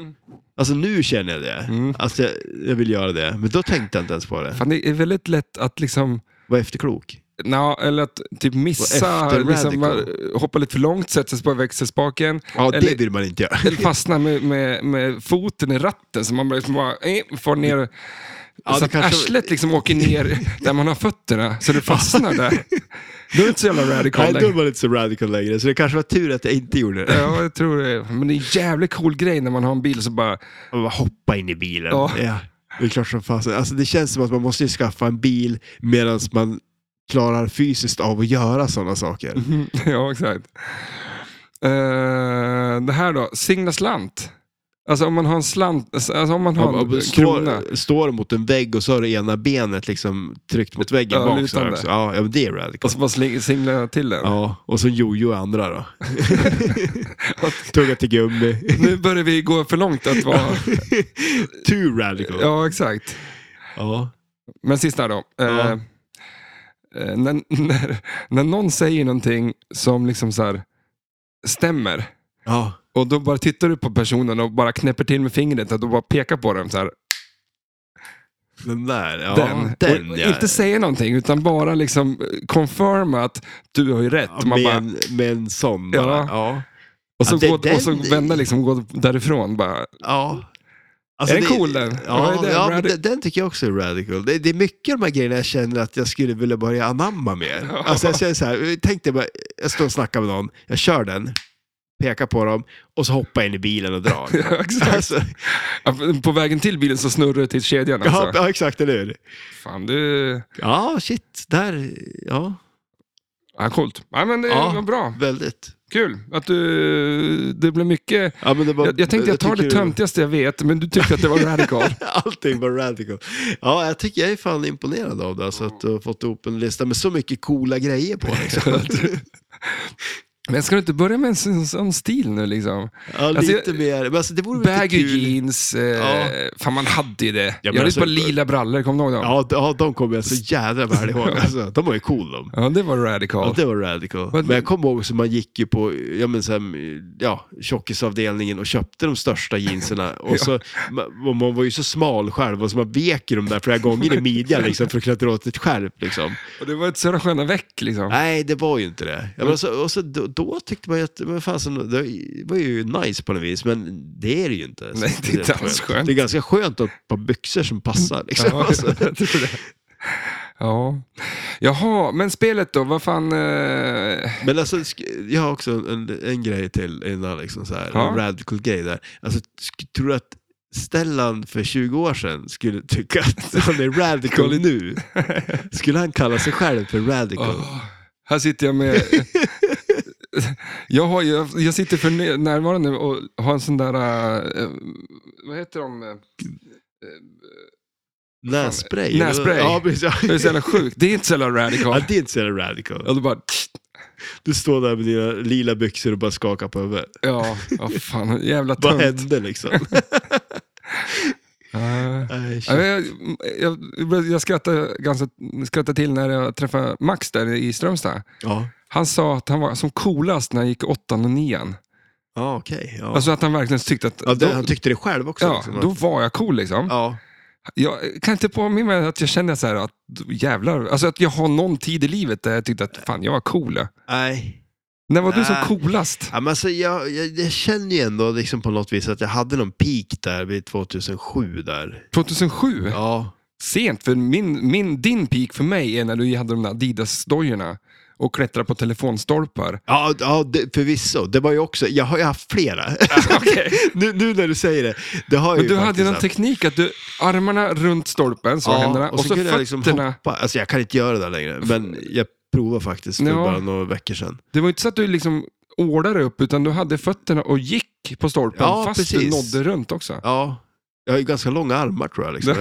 Alltså nu känner jag det. Mm. Alltså jag, jag vill göra det. Men då tänkte jag inte ens på det. Fan, det är väldigt lätt att liksom, Var efterklok. na, eller att typ Och missa, efter liksom, radical. va- hoppa lite för långt, sätta sig på växelspaken. Ja, Eller- det vill man inte göra. Eller fastna med, med, med foten i ratten så man bara, liksom bara eh, får ner... Ja, så det att kanske- arslet liksom åker ner där man har fötterna, så det fastnar där. Då är det inte så jävla Nej, radical då var längre. det inte så radical längre. Så det kanske var tur att jag inte gjorde det. Ja, jag tror det. Men det är en jävligt cool grej när man har en bil så bara... Och bara hoppa in i bilen. Ja. Ja. Det är klart som fasen. Alltså det känns som att man måste ju skaffa en bil medan man klarar fysiskt av att göra sådana saker. Mm. ja, exakt. Eh, det här då, singla slant. Alltså om man har en slant, alltså om man har Ja, en men krona. står, står mot en vägg och så har det ena benet liksom tryckt mot väggen Ja, bak. Så lutande. här också. Ja, ja, men det är Och radical. så bara sling- singla till den. Ja, och så jojo i andra då. Tugga till gummi. Nu börjar vi gå för långt att vara... Too radical. ja, exakt. Ja. Men sista då. Eh, Ja. eh, när, när, när någon säger någonting som liksom så här, stämmer. Ja. Och då bara tittar du på personen och bara knäpper till med fingret och då bara pekar på den så här. Den där, ja. den. den och, ja. Inte säga någonting utan bara liksom eh, confirma att du har ju rätt. Ja, Man med, bara, en, med en sån bara. Ja. Ja. och, så ja, det är gå, och så den- vända liksom, gå därifrån. Bara, ja. Alltså, Är den cool, den? Ja, Ja, det är ja men radic- den, den tycker jag också är radical. Det, det är mycket av de här grejerna jag känner att jag skulle vilja börja anamma mer. Ja. Alltså jag känner så här, tänk dig bara, jag står och snackar med någon, jag kör den, pekar på dem och så hoppar jag in i bilen och drar. Ja, exakt. alltså, Ja, På vägen till bilen så snurrar du till kedjan. ja, Alltså. ja, exakt, eller hur? Fan, du... Ja, shit, där, ja, Ja, coolt. Ja, men det Ja. var bra. väldigt. Kul att du... Det blev mycket... Ja, men det var, Jag, jag tänkte jag tar det tycker- töntigaste jag vet, men du tyckte att det var radical. Allting var radical. Ja, jag tycker jag är fan imponerad av det, alltså att du har fått ihop en lista med så mycket coola grejer på. Liksom. men ska du inte börja med en sån, sån stil nu liksom? Ja, lite Alltså, jag- mer, men alltså det vore väl lite Baggy kul. jeans, eh, Ja. fan man hade ju det. jag men hade alltså- ett par lila brallor, kommer du ihåg dem? Ja. Ja, d- ja, de kommer jag så jädra väl ihåg. Alltså, de var ju cool de. det var radical. Ja, det var radical. Vad- Men jag kommer ihåg så man gick ju på ja, men så här, ja, tjockisavdelningen och köpte de största jeansarna. Och så, man, och man var ju så smal själv och så man vek ju dem där flera gånger i midjan liksom, för att klättra åt ett skärp. Liksom. Och det var ett sådana sköna väck liksom. Nej, det var ju inte det. Ja, Mm. men så, och så, då, då tyckte man ju att men fan, så, det var ju nice på något vis, men det är det ju inte. Så Nej, det är inte alls skönt. Det är ganska skönt att ha ett par byxor som passar. Liksom. Ja, Alltså. jag tror det. Ja. Jaha, men spelet då, vad fan... Eh... Men alltså, sk- jag har också en, en grej till innan, liksom så här, Ja. en radical grej där. Alltså, sk- tror du att Stellan för 20 år sedan skulle tycka att han är radical nu? Skulle han kalla sig själv för radical? Åh, här sitter jag med... jag, har, ju- jag, jag sitter för nä- närvarande och har en sån där... eh, vad heter de? Eh, Nässpray? Nässpray. Ja, precis. Det är så jävla Ja. sjukt. Det är inte så jävla radical. Ja, det är inte så jävla radical. Ja, då bara, Du står där med dina lila byxor och bara skakar på huvudet. ja, ja fan, jävla Vad tunt. hände liksom? Ja. Nej, Ja, shit. men jag, jag, jag skrattade, ganska, skrattade till när jag träffade Max där i Strömstad. ja, Han sa att han var som coolast när han gick åttan och nian. ja okej. Ja. Alltså att han verkligen tyckte att... ja, det, då, han tyckte det själv också. ja, liksom. då var jag cool liksom. ja. Jag kan inte påminna mig att jag kände så här att jävlar, alltså att jag har någon tid i livet där jag tyckte att fan jag var cool. Nej. När var du som Nej. coolast? Ja, men alltså, jag, jag, jag känner ju ändå liksom på något vis att jag hade någon peak där vid 2007. Där. 2007? Ja. Sent, för min, min, din peak för mig är när du hade de där Adidas-dojorna och klättrade på telefonstolpar. Ja, ja det, förvisso. Det var ju också, jag har ju haft flera. Okej. nu, nu när du säger det. det har jag Men ju du hade ju faktiskt någon haft. teknik att du, armarna runt stolpen, så händerna, och, så kunde fötterna. hoppa. Alltså jag kan inte göra det där längre, men jag provade faktiskt för Ja. bara några veckor sedan. Det var ju inte så att du liksom ordade upp, utan du hade fötterna och gick på stolpen Ja, fast du precis. nådde runt också. Ja. Jag har ju ganska långa armar tror jag. Liksom.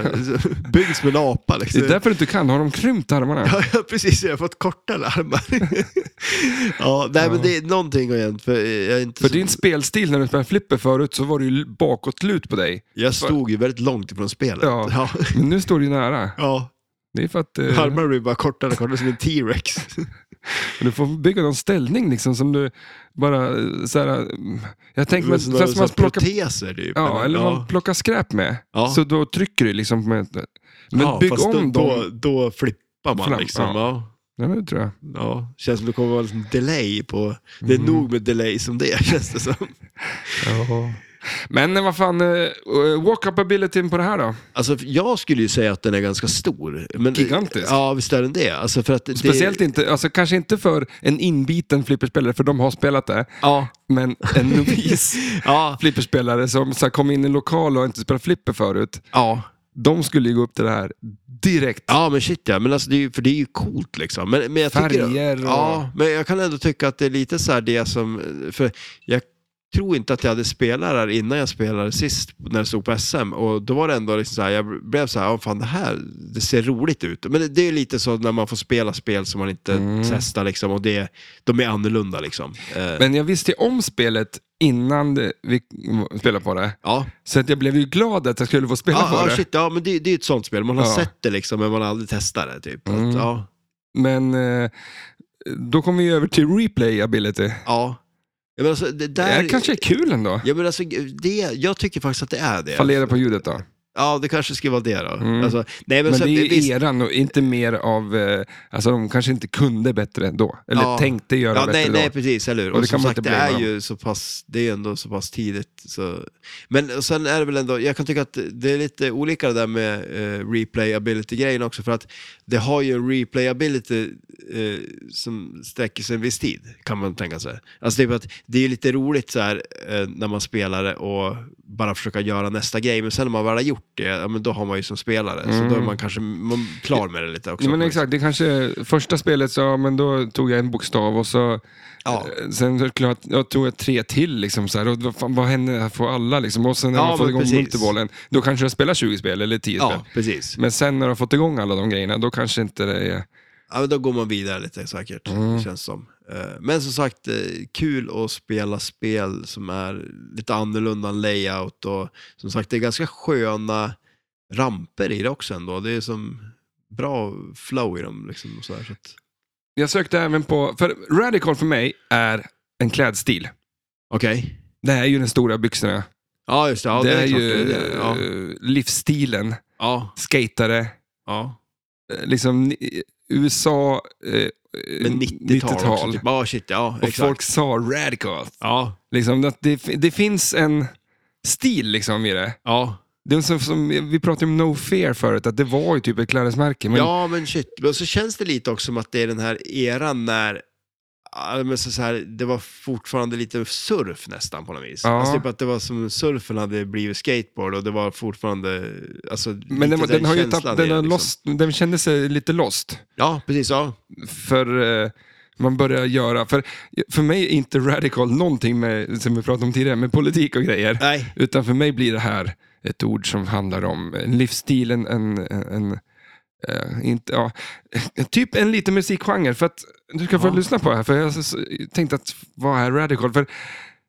Byggd som en apa. Det Liksom. är därför du inte kan, har de krympt armarna? Ja, ja, precis. Jag har fått kortare armar. ja, nej, men det är någonting har hänt. För jag, är inte För så- din spelstil när du spelade flipper förut så var du ju bakåtlut på dig. jag stod ju väldigt långt ifrån spelet. Ja. Ja. Men nu står du ju nära. Ja. Det är för att eh, Armarna blir bara kortare och kortare som en T-rex. du får bygga någon ställning liksom som du bara eh, så här, mm, Jag tänker mig Men så sådana- här som man sådana plockar, proteser typ. ja, eller man ja. plockar skräp med. Ja. Så då trycker du liksom med... Men ja, bygg fast om då, dem. Då, då flippar man Fram, liksom. ja. Ja. Ja, men det tror jag. Ja. Känns som det kommer vara en liten delay på... Det är Mm. nog med delay som det är, känns det som. Men eh, vad fan, eh, walk-up-abilityn på det här då? Alltså, jag skulle ju säga att den är ganska stor. Men, Gigantisk. Ja, visst är den det. Alltså, för att det- Speciellt inte, alltså kanske inte för en inbiten flipperspelare, för de har spelat det. Ja. Men en novis. Ja. flipperspelare som så här, kom in i en lokal och inte spelat flipper förut, ja. de skulle ju gå upp till det här direkt. Ja men shit ja, men alltså, det är, ju- för det är ju coolt liksom. Men, men jag Färger tycker, och- Ja, men jag kan ändå tycka att det är lite så här det som... För jag tror inte att jag hade spelat här innan jag spelade sist när det stod på SM. Och då var det ändå liksom så här, jag blev så här, ja fan det här, det ser roligt ut. Men det, det är ju lite så när man får spela spel som man inte Mm. testar liksom. Och det, de är annorlunda liksom. Eh, Men jag visste ju om spelet innan det- vi spelade på det. ja. Så att jag blev ju glad att jag skulle få spela Ja, på ja, det. shit, ja, men det, det är ju ett sånt spel. Man har Ja. Mm. sett det liksom, men man har aldrig testat det. Typ. Att, ja. Men eh, då kommer vi över till replayability. Ja. Jag menar, alltså, det Det där... här kanske är kul ändå. Ja, men alltså, det, jag tycker faktiskt att det är det. Fallera på ljudet då. Ja, det kanske skulle vara det då. Mm. Alltså, nej, men Men så, det är ju visst, eran och inte mer av... eh, Alltså de kanske inte kunde bättre då. Eller Ja. tänkte göra ja, bättre nej, då. nej, precis, eller hur? Och Och, det kan som man sagt, inte det är blama ju så pass, det är ju ändå så pass tidigt. Så. Men och sen är det väl ändå, jag kan tycka att det är lite olika det där med eh, replayability-grejen också, för att det har ju en replayability eh, som sträcker sig en viss tid, kan man tänka sig. Alltså typ att det är ju lite roligt så här eh, när man spelar det och bara försöka göra nästa grej, men sen när man väl har gjort det, ja, men då har man ju som spelare, så då är man kanske man klar med det lite också. Mm. Ja, men exakt, det kanske första spelet så, ja, men då tog jag en bokstav och så Ja. eh, sen så klart, jag tog jag tre till. Liksom, så här, och vad, fan, vad händer här för alla? Liksom. Och sen när Ja, man får men igång precis. multibollen, då kanske jag spelar 20 spel eller 10 Ja, spel. precis. Men sen när du har fått igång alla de grejerna, då kanske inte det är... Ja, men då går man vidare lite säkert, känns som. Eh, Men som sagt, eh, kul att spela spel som är lite annorlunda än layout och som sagt, det är ganska sköna ramper i det också ändå. Det är som bra flow i dem liksom. Och så här, så att... Jag sökte även på... För radical för mig är en klädstil. Okej. Det är ju den stora byxorna. Ja, just det. Ja, det, det, är, klart ju det är det. Ja. eh, livsstilen. Ja. Skatare. ja. eh, Liksom, ni- USA... eh, Men 90-tal, 90 också. Typ. Ja, shit, ja. Och exakt. folk sa radical. Ja, Liksom, att det, det finns en stil liksom i det. ja. det är som, som, vi pratade om No Fear förut, att det var ju typ ett klädesmärke. Men Ja, men shit. Men så känns det lite också som att det är den här eran när ja, men så så här, det var fortfarande lite surf nästan på något vis. Ja. Alltså typ att det var som surfen hade blivit skateboard och det var fortfarande... Alltså, Men den, lite den, har ju känslan tappat, i den, det, har liksom. lost, den kände sig lite lost. Ja, precis. Ja. För eh, man börjar göra, för, för mig är inte radical någonting med, som vi pratade om tidigare, med politik och grejer. Nej. Utan för mig blir det här ett ord som handlar om en livsstil, en, en, en eh, inte, ja, typ en liten musikgenre. För att, du ska få lyssna på det här, för jag s- tänkte att vad är radical? För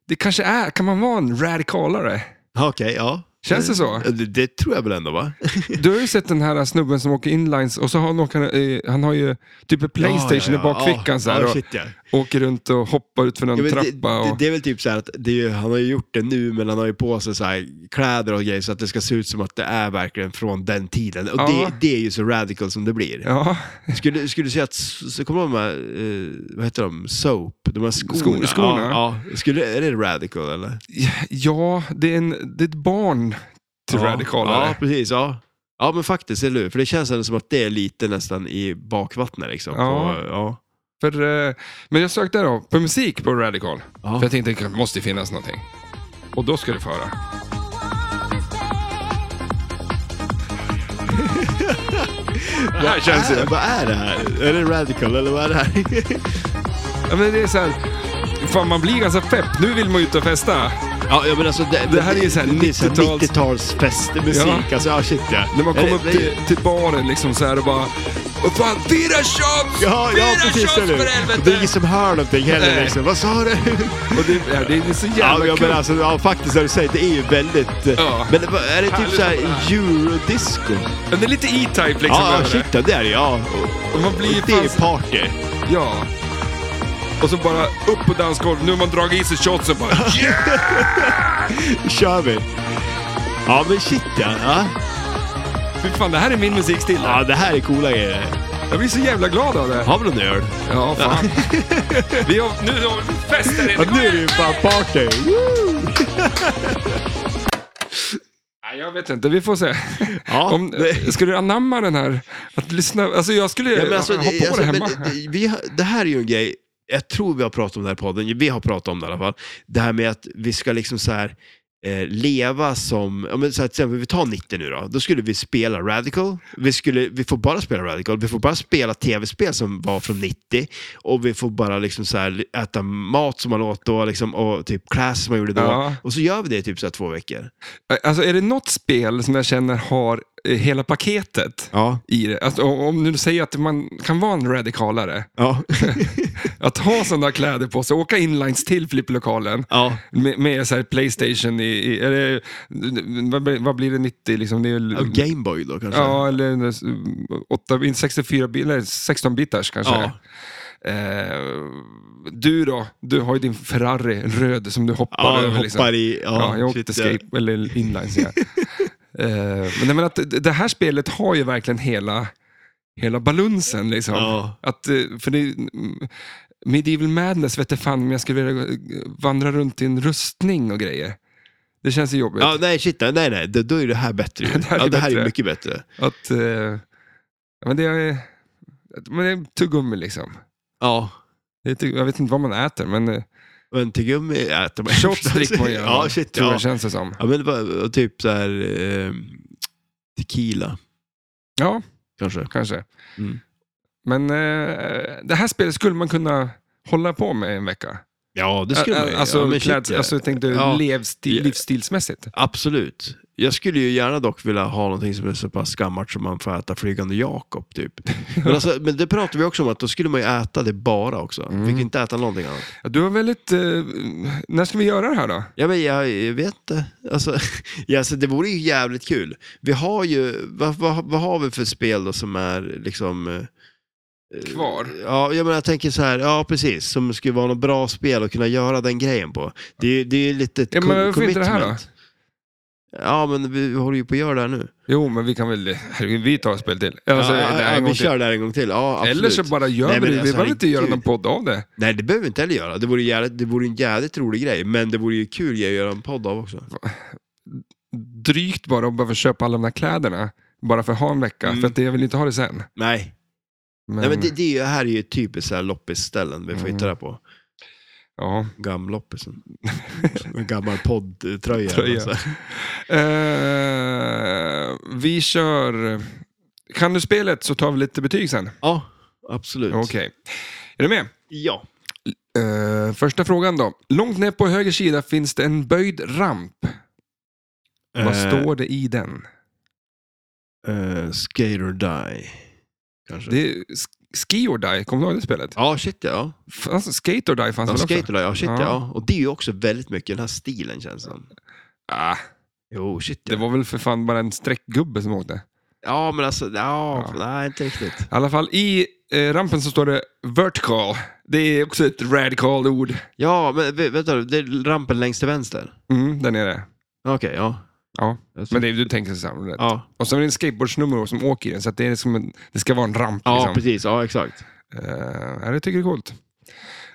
det kanske är, kan man vara en radicalare? Ja, Okej, ja. Känns det så? Ja, Det, det tror jag väl ändå, va? Du har ju sett den här snubben som åker inlines och så har han, åker, eh, han har ju typ en Playstation i bakfickan ja, så här, ja, och shit, ja. åker runt och hoppar ut för någon Ja, men det, trappa. det, Och, det är väl typ så här att det är, ju- han har ju gjort det nu, men han har ju på sig så här kläder och grejer så att det ska se ut som att det är verkligen från den tiden. Och Ja. det, det är ju så radical som det blir. ja, Skulle, skulle du säga att, s- så kommer de här, eh, vad heter de, Soap? De här skorna? Skor- skorna? Ja, ja. Skulle, är det radical eller? ja det, är en, det är ett barn till ja. radicalare. Ja, precis. Ja. ja, men faktiskt, eller hur? För det känns ändå som att det är lite nästan i bakvattnet liksom. Ja. På, ja. För, eh, men jag sökte då på musik på Radical. Ja. För jag tänkte det måste ju finnas någonting. Och då ska du få höra. Det här känns ju... Vad är det här? Är det radical eller vad är det här? Ja, men det är så här, fan man blir ganska pepp. Nu vill man ju ut och festa. ja, ja, men alltså det, Det här är ju så här det är så 90-tals- 90-talsfestmusik. Ja. Alltså, ja shit ja. När man Är kommer det- upp till, till baren liksom så här och bara... "Åh, fan, fyra shots! Ja, fyra ja precis. shots eller för hur? Det är ingen helvete! som hör någonting heller Nej. liksom. Vad sa du? Och det, ja, det är så Ja, jävla ja kul. men alltså, ja, faktiskt när du säger det, det är ju väldigt... eh, Ja. Men det var- är det typ Härligt såhär att eurodisco? Men det är lite E-Type liksom. Ja, över ja, det. shit ja, det är det ja. Och man blir Det är fan... party. Ja. Och så bara upp på dansgolvet. Nu har man dragit i sig shots och bara... kör vi. Ja men shit ja. ja. Fy fan, det här är min musikstil. Ja, det här är coola grejer. Jag blir så jävla glad av det. Har vi någon öl? Ja, fan. Vi har, nu har vi fest här Ja, inne. Kom nu är det igen! ju fan party. Woo! Nej, jag vet inte. Vi får se. Ja, Om, det- ska du anamma den här? Att lyssna? Alltså, jag skulle Ja, men alltså, hoppa på alltså, det hemma. Men, eh, vi, har- det här är ju en grej, jag tror vi har pratat om det här i podden, vi har pratat om det i alla fall. Det här med att vi ska liksom så här eh, leva som, ja, men så här, till exempel vi tar 90 nu då, då skulle vi spela Radical, vi, skulle, vi får bara spela Radical, vi får bara spela tv-spel som var från 90 och vi får bara liksom så här, äta mat som man åt då liksom, och typ class som man gjorde då. Ja. Och så gör vi det i typ så här två veckor. Alltså, är det något spel som jag känner har eh, hela paketet Ja. i det. Alltså, om om du säger att man kan vara en radikalare, Ja. att ha sådana kläder på sig, åka inlines till flipplokalen ja. med, med så här Playstation i, i eller, vad, blir- vad blir det, 90 liksom? Det är, Och Gameboy då kanske? Ja, eller 8, 64 bil- eller 16 bitars kanske. Ja. Eh, du då, du har ju din Ferrari en röd som du hoppar Ja, över. hoppar liksom. i. Ja, Ja, jag åkte shit, skate, liksom. eller inline säger jag. Eh, men jag menar att det- det här spelet har ju verkligen hela, hela balansen. Liksom. Ja. Att, eh, för det, mm, Medieval Madness vet jag fan om jag skulle vilja eh, vandra runt i en rustning och grejer. Det känns ju jobbigt. Ja, nej shit, nej nej, nej. Då- då är det här bättre. Det här är ja, det här bättre. är mycket bättre. Att, eh, ja, men det är, att- men det är tuggummi liksom. Ja. Det är tugg, jag vet inte vad man äter, men eh, Men tuggummi äter man shots dricker man ju. Ja, shit. tror Ja. jag känns det som. ja, men det var typ så här eh, tequila Ja, kanske. kanske. Mm. Men eh, det här spelet skulle man kunna hålla på med en vecka. Ja, det skulle man ju. alltså, ja, men shit, kläd, ja. alltså, jag tänkte Ja. levstil, Ja. livsstilsmässigt. Absolut. Jag skulle ju gärna dock vilja ha någonting som är så pass gammalt som man får äta Flygande Jakob typ. Men, alltså, men det pratade vi också om att då skulle man ju äta det bara också. Mm. Fick inte äta någonting annat. Ja, du har väldigt... Eh, när ska vi göra det här då? Ja, men jag jag vet inte. Alltså, ja, alltså, det vore ju jävligt kul. Vi har ju, vad, vad, vad har vi för spel då som är liksom... eh, Kvar. Ja, jag, menar, jag tänker så här, ja precis, som skulle vara något bra spel att kunna göra den grejen på. Det är ju det är ju lite ett Ja, men co- varför inte det här då? commitment. Ja, men vi, vi håller ju på att göra det här nu. Jo, men vi kan väl... Herregud, vi tar ett spel till. Alltså, ja, det här ja, en vi gång till. kör det här en gång till. Ja, absolut. Eller så bara gör vi Nej, men det. Vi alltså, behöver inte göra någon herregud. podd av det. Nej, det behöver vi inte heller göra. Det vore, jävligt, det vore en jävligt rolig grej, men det vore ju kul att göra en podd av också. drygt bara att behöva köpa alla de där kläderna. Bara för att ha en vecka, Mm. för att jag vill inte ha det sen. Nej, Men, Nej, men det, det är ju, här är ju typiskt så här loppisställen vi får Mm. hitta det på. ja. Gamloppisen. En gammal poddtröja. Tröja. Så här. Eh, vi kör... Kan du spelet så tar vi lite betyg sen. Ja, absolut. Okej. Är du med? Ja. Eh, första frågan då. Långt ner på höger sida finns det en böjd ramp. Vad Eh, står det i den? eh, skate or die. Kanske. Det är sk- Ski or Die, kommer du ihåg det spelet? Ja, shit ja. Fanns, skate or Die fanns ja väl skate också? or die, ja, shit Ja. ja. Och det är ju också väldigt mycket den här stilen känns det som. Ah, Jo, shit ja. det var väl för fan bara en streckgubbe som åkte. Ja, men alltså, ja, Ja. nej inte riktigt. I alla fall, i eh, rampen så står det vertical. Det är också ett radical ord. Ja, men vä- vänta, det är rampen längst till vänster. Mm, där nere. Okej, ja. Ja, Jag tror- Men det är, du tänker så här, rätt. Ja, Och sen är det en skateboardsnummer som åker i den, så att det, är som en, det ska vara en ramp. ja liksom. precis. Ja, exakt. Eh, ja, det tycker jag är coolt.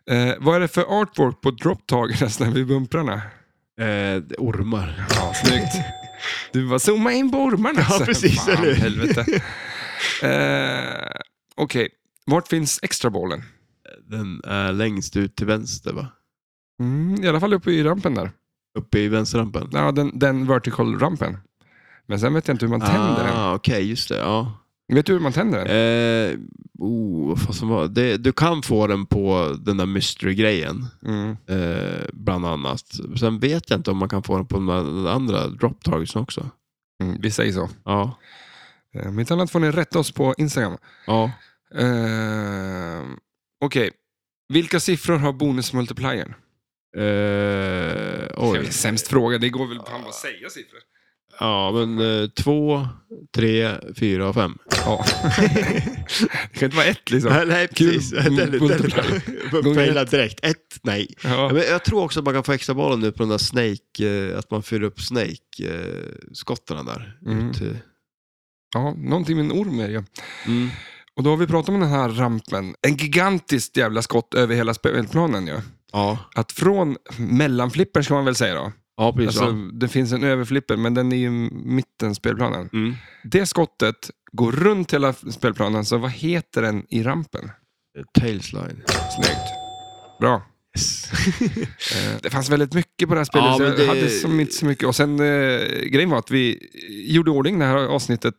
Eh, vad är det för artwork på dropptagarna vid bumprarna? Eh, ormar. Ja, snyggt. Du bara zooma in på ormarna. alltså. Ja, precis, Fan, eller hur? helvete. Eh, Okej, vart finns extrabollen? Den är längst ut till vänster va? Mm, I alla fall uppe i rampen där. Uppe i vänsterrampen? Ja, den, den vertical rampen. Men sen vet jag inte hur man tänder den. Ah, Okej, just det. Ja. Vet du hur man tänder den? Eh, oh, vad fan som var det? Du kan få den på den där mystery-grejen, Mm. eh, bland annat. Sen vet jag inte om man kan få den på de där de andra drop targetsen också. Mm, vi säger så. Ja. Eh, Om inte annat får ni rätta oss på Instagram. ja. Eh, Okej, vilka siffror har bonusmultipliern? Eh, Det är väl oj. en Sämst fråga, det går väl fan bara att säga siffror. Ja, men eh, två, tre, fyra och fem. Ja. det kan inte vara ett liksom. nej, precis. Den är- den är- Faila direkt. Ett, nej. Ja, Ja. men jag tror också att man kan få extra bollen nu på den där Snake, eh, att man fyller upp Snake-skotten där. Mm. Ut, eh. ja, någonting med en orm är det ju. Mm. Och då har vi pratat om den här rampen. En gigantiskt jävla skott över hela spelplanen ju. Ja. Att från mellanflippen ska man väl säga då. ja, precis. Alltså, det finns en överflipper, men den är ju mitten spelplanen. ja. Mm. Det skottet går runt hela spelplanen, så vad heter den i rampen? Eh, Tailslide. Snyggt. Bra. Yes. Eh, Det fanns väldigt mycket på det här spelet, Ja, så men jag det- hade som inte så mycket. Och sen, eh, grejen var att vi gjorde i ordning det här avsnittet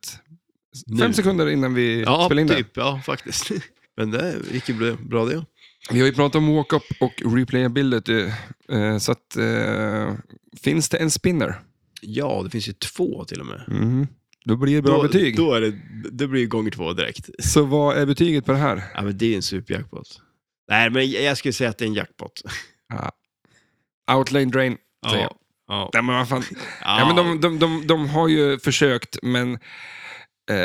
fem Nu. sekunder innan vi ja, spelade in det. typ. Ja, faktiskt. Men det gick ju bra- bra det. Vi har ju pratat om walk-up och replayability, eh, så att, eh, finns det en spinner? Ja, det finns ju två till och med. Mm. Då blir det bra då, betyg. Då är det, det blir gånger två direkt. Så vad är betyget på det här? Ja, men det är en superjackpot. Nej, men jag skulle säga att det är en jackpot. Outlane Drain. säger jag. ja. Nej, men vad fan. Ja, men de, de, de, de har ju försökt, men... Eh,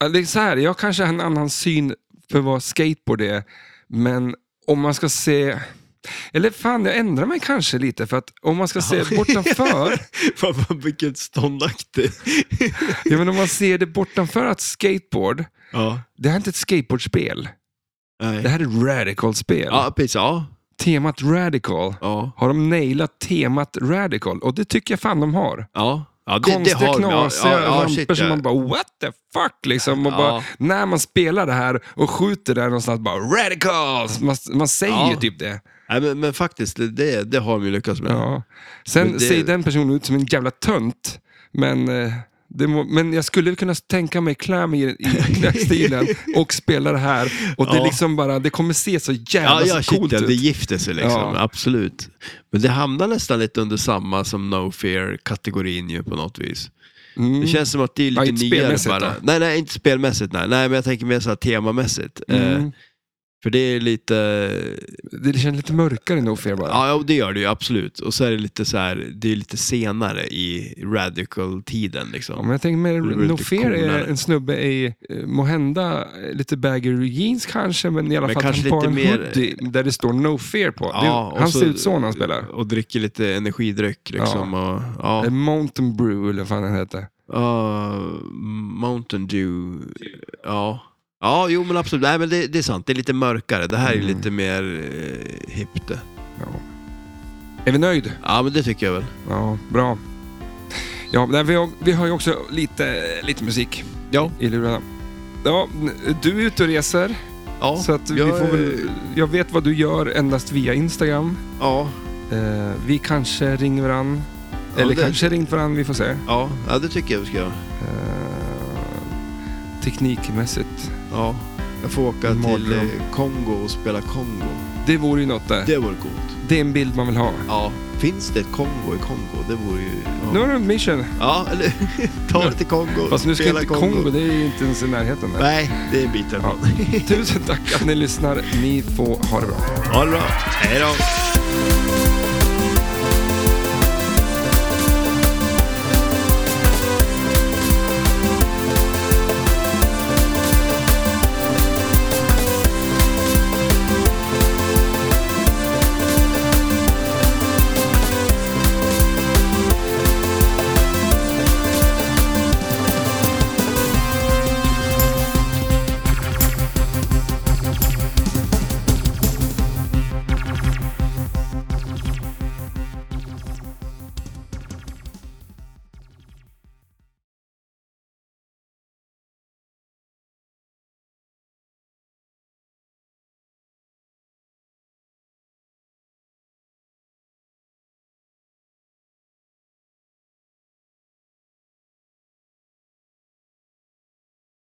ja, det är så här, jag kanske har en annan syn för vad skateboard är, men om man ska se... Eller fan, jag ändrar mig kanske lite, för att om man ska se bortanför... Fan, vad- vilken ståndaktig. ja, men om man ser det bortanför att skateboard, ja. det här är inte ett skateboardspel. Det Nej. här är ett radical-spel. Ja, precis. Ja. Temat radical. Ja. Har de nailat temat radical? Och det tycker jag fan de har. Ja. ja det, konstiga, det har de. knasiga shit, ramper som man bara what the fuck liksom. Och Ja. bara, när man spelar det här och skjuter där någonstans bara radical! Man, man säger Ja. ju typ det. Nej, men, men faktiskt, det- det, det har de ju lyckats med. Ja. Sen Men det- ser den personen ut som en jävla tönt. Men, eh, det må, men jag skulle kunna tänka mig klä mig i, i klädstilen och spela det här. Och det, Ja. liksom bara, det kommer se så jävla Ja, ja, så shit, coolt ja, det ut. gifter sig liksom. Ja. Absolut. Men det hamnar nästan lite under samma som No Fear-kategorin ju på något vis. Mm. Det känns som att det är lite Ja, inte nyare spelmässigt bara. då? Nej, nej, inte spelmässigt. Nej, nej men jag tänker mer så här temamässigt. Eh, Mm. för det är lite... Det känns lite mörkare No Fear bara. Ja, ja, det gör det ju absolut. Och så är det lite så här, det är lite senare i radical-tiden Ja, liksom. men jag tänker mer, Det blir No lite Fear är coolare. en snubbe i, eh, måhända eh, lite bagger jeans kanske, men i alla Men fall kanske han har en lite mer- hoodie där det står No Fear på. Ja, det, och han så- ser ut så när han spelar. Och dricker lite energidryck liksom. Och, ja. Eh, Mountain Brew eller vad fan den heter. Ja, Mountain Dew. Ja. Ja, jo men absolut. Nej men det, det är sant. Det är lite mörkare. Det här är Mm. lite mer eh, hippt. Är vi nöjd? Ja men det tycker jag väl. Ja, bra. Ja, men vi, har, vi har ju också lite, lite musik Ja. i lurarna. Ja, n- du är ute och reser, Ja, så att vi jag får är- väl, jag vet vad du gör endast via Instagram. Ja, Eh, vi kanske ringer varann. Ja, eller det- kanske ringt varann, vi får se. ja, ja, det tycker jag vi ska göra. Eh, teknikmässigt. Ja. Jag får åka till Mardröm. eh, Kongo och spela Kongo. Det vore ju något det. Det vore coolt. Det är en bild man vill ha. Ja. Finns det ett Kongo i Kongo? Det vore ju... Ja, Nu har du en mission. ja eller ta det till Kongo. Fast nu ska spela inte Kongo, det är ju inte ens i närheten. Där. Nej, det är en bit Ja. därifrån. Tusen tack att ni lyssnar. Ni får ha det bra. Ha det bra. Hej då.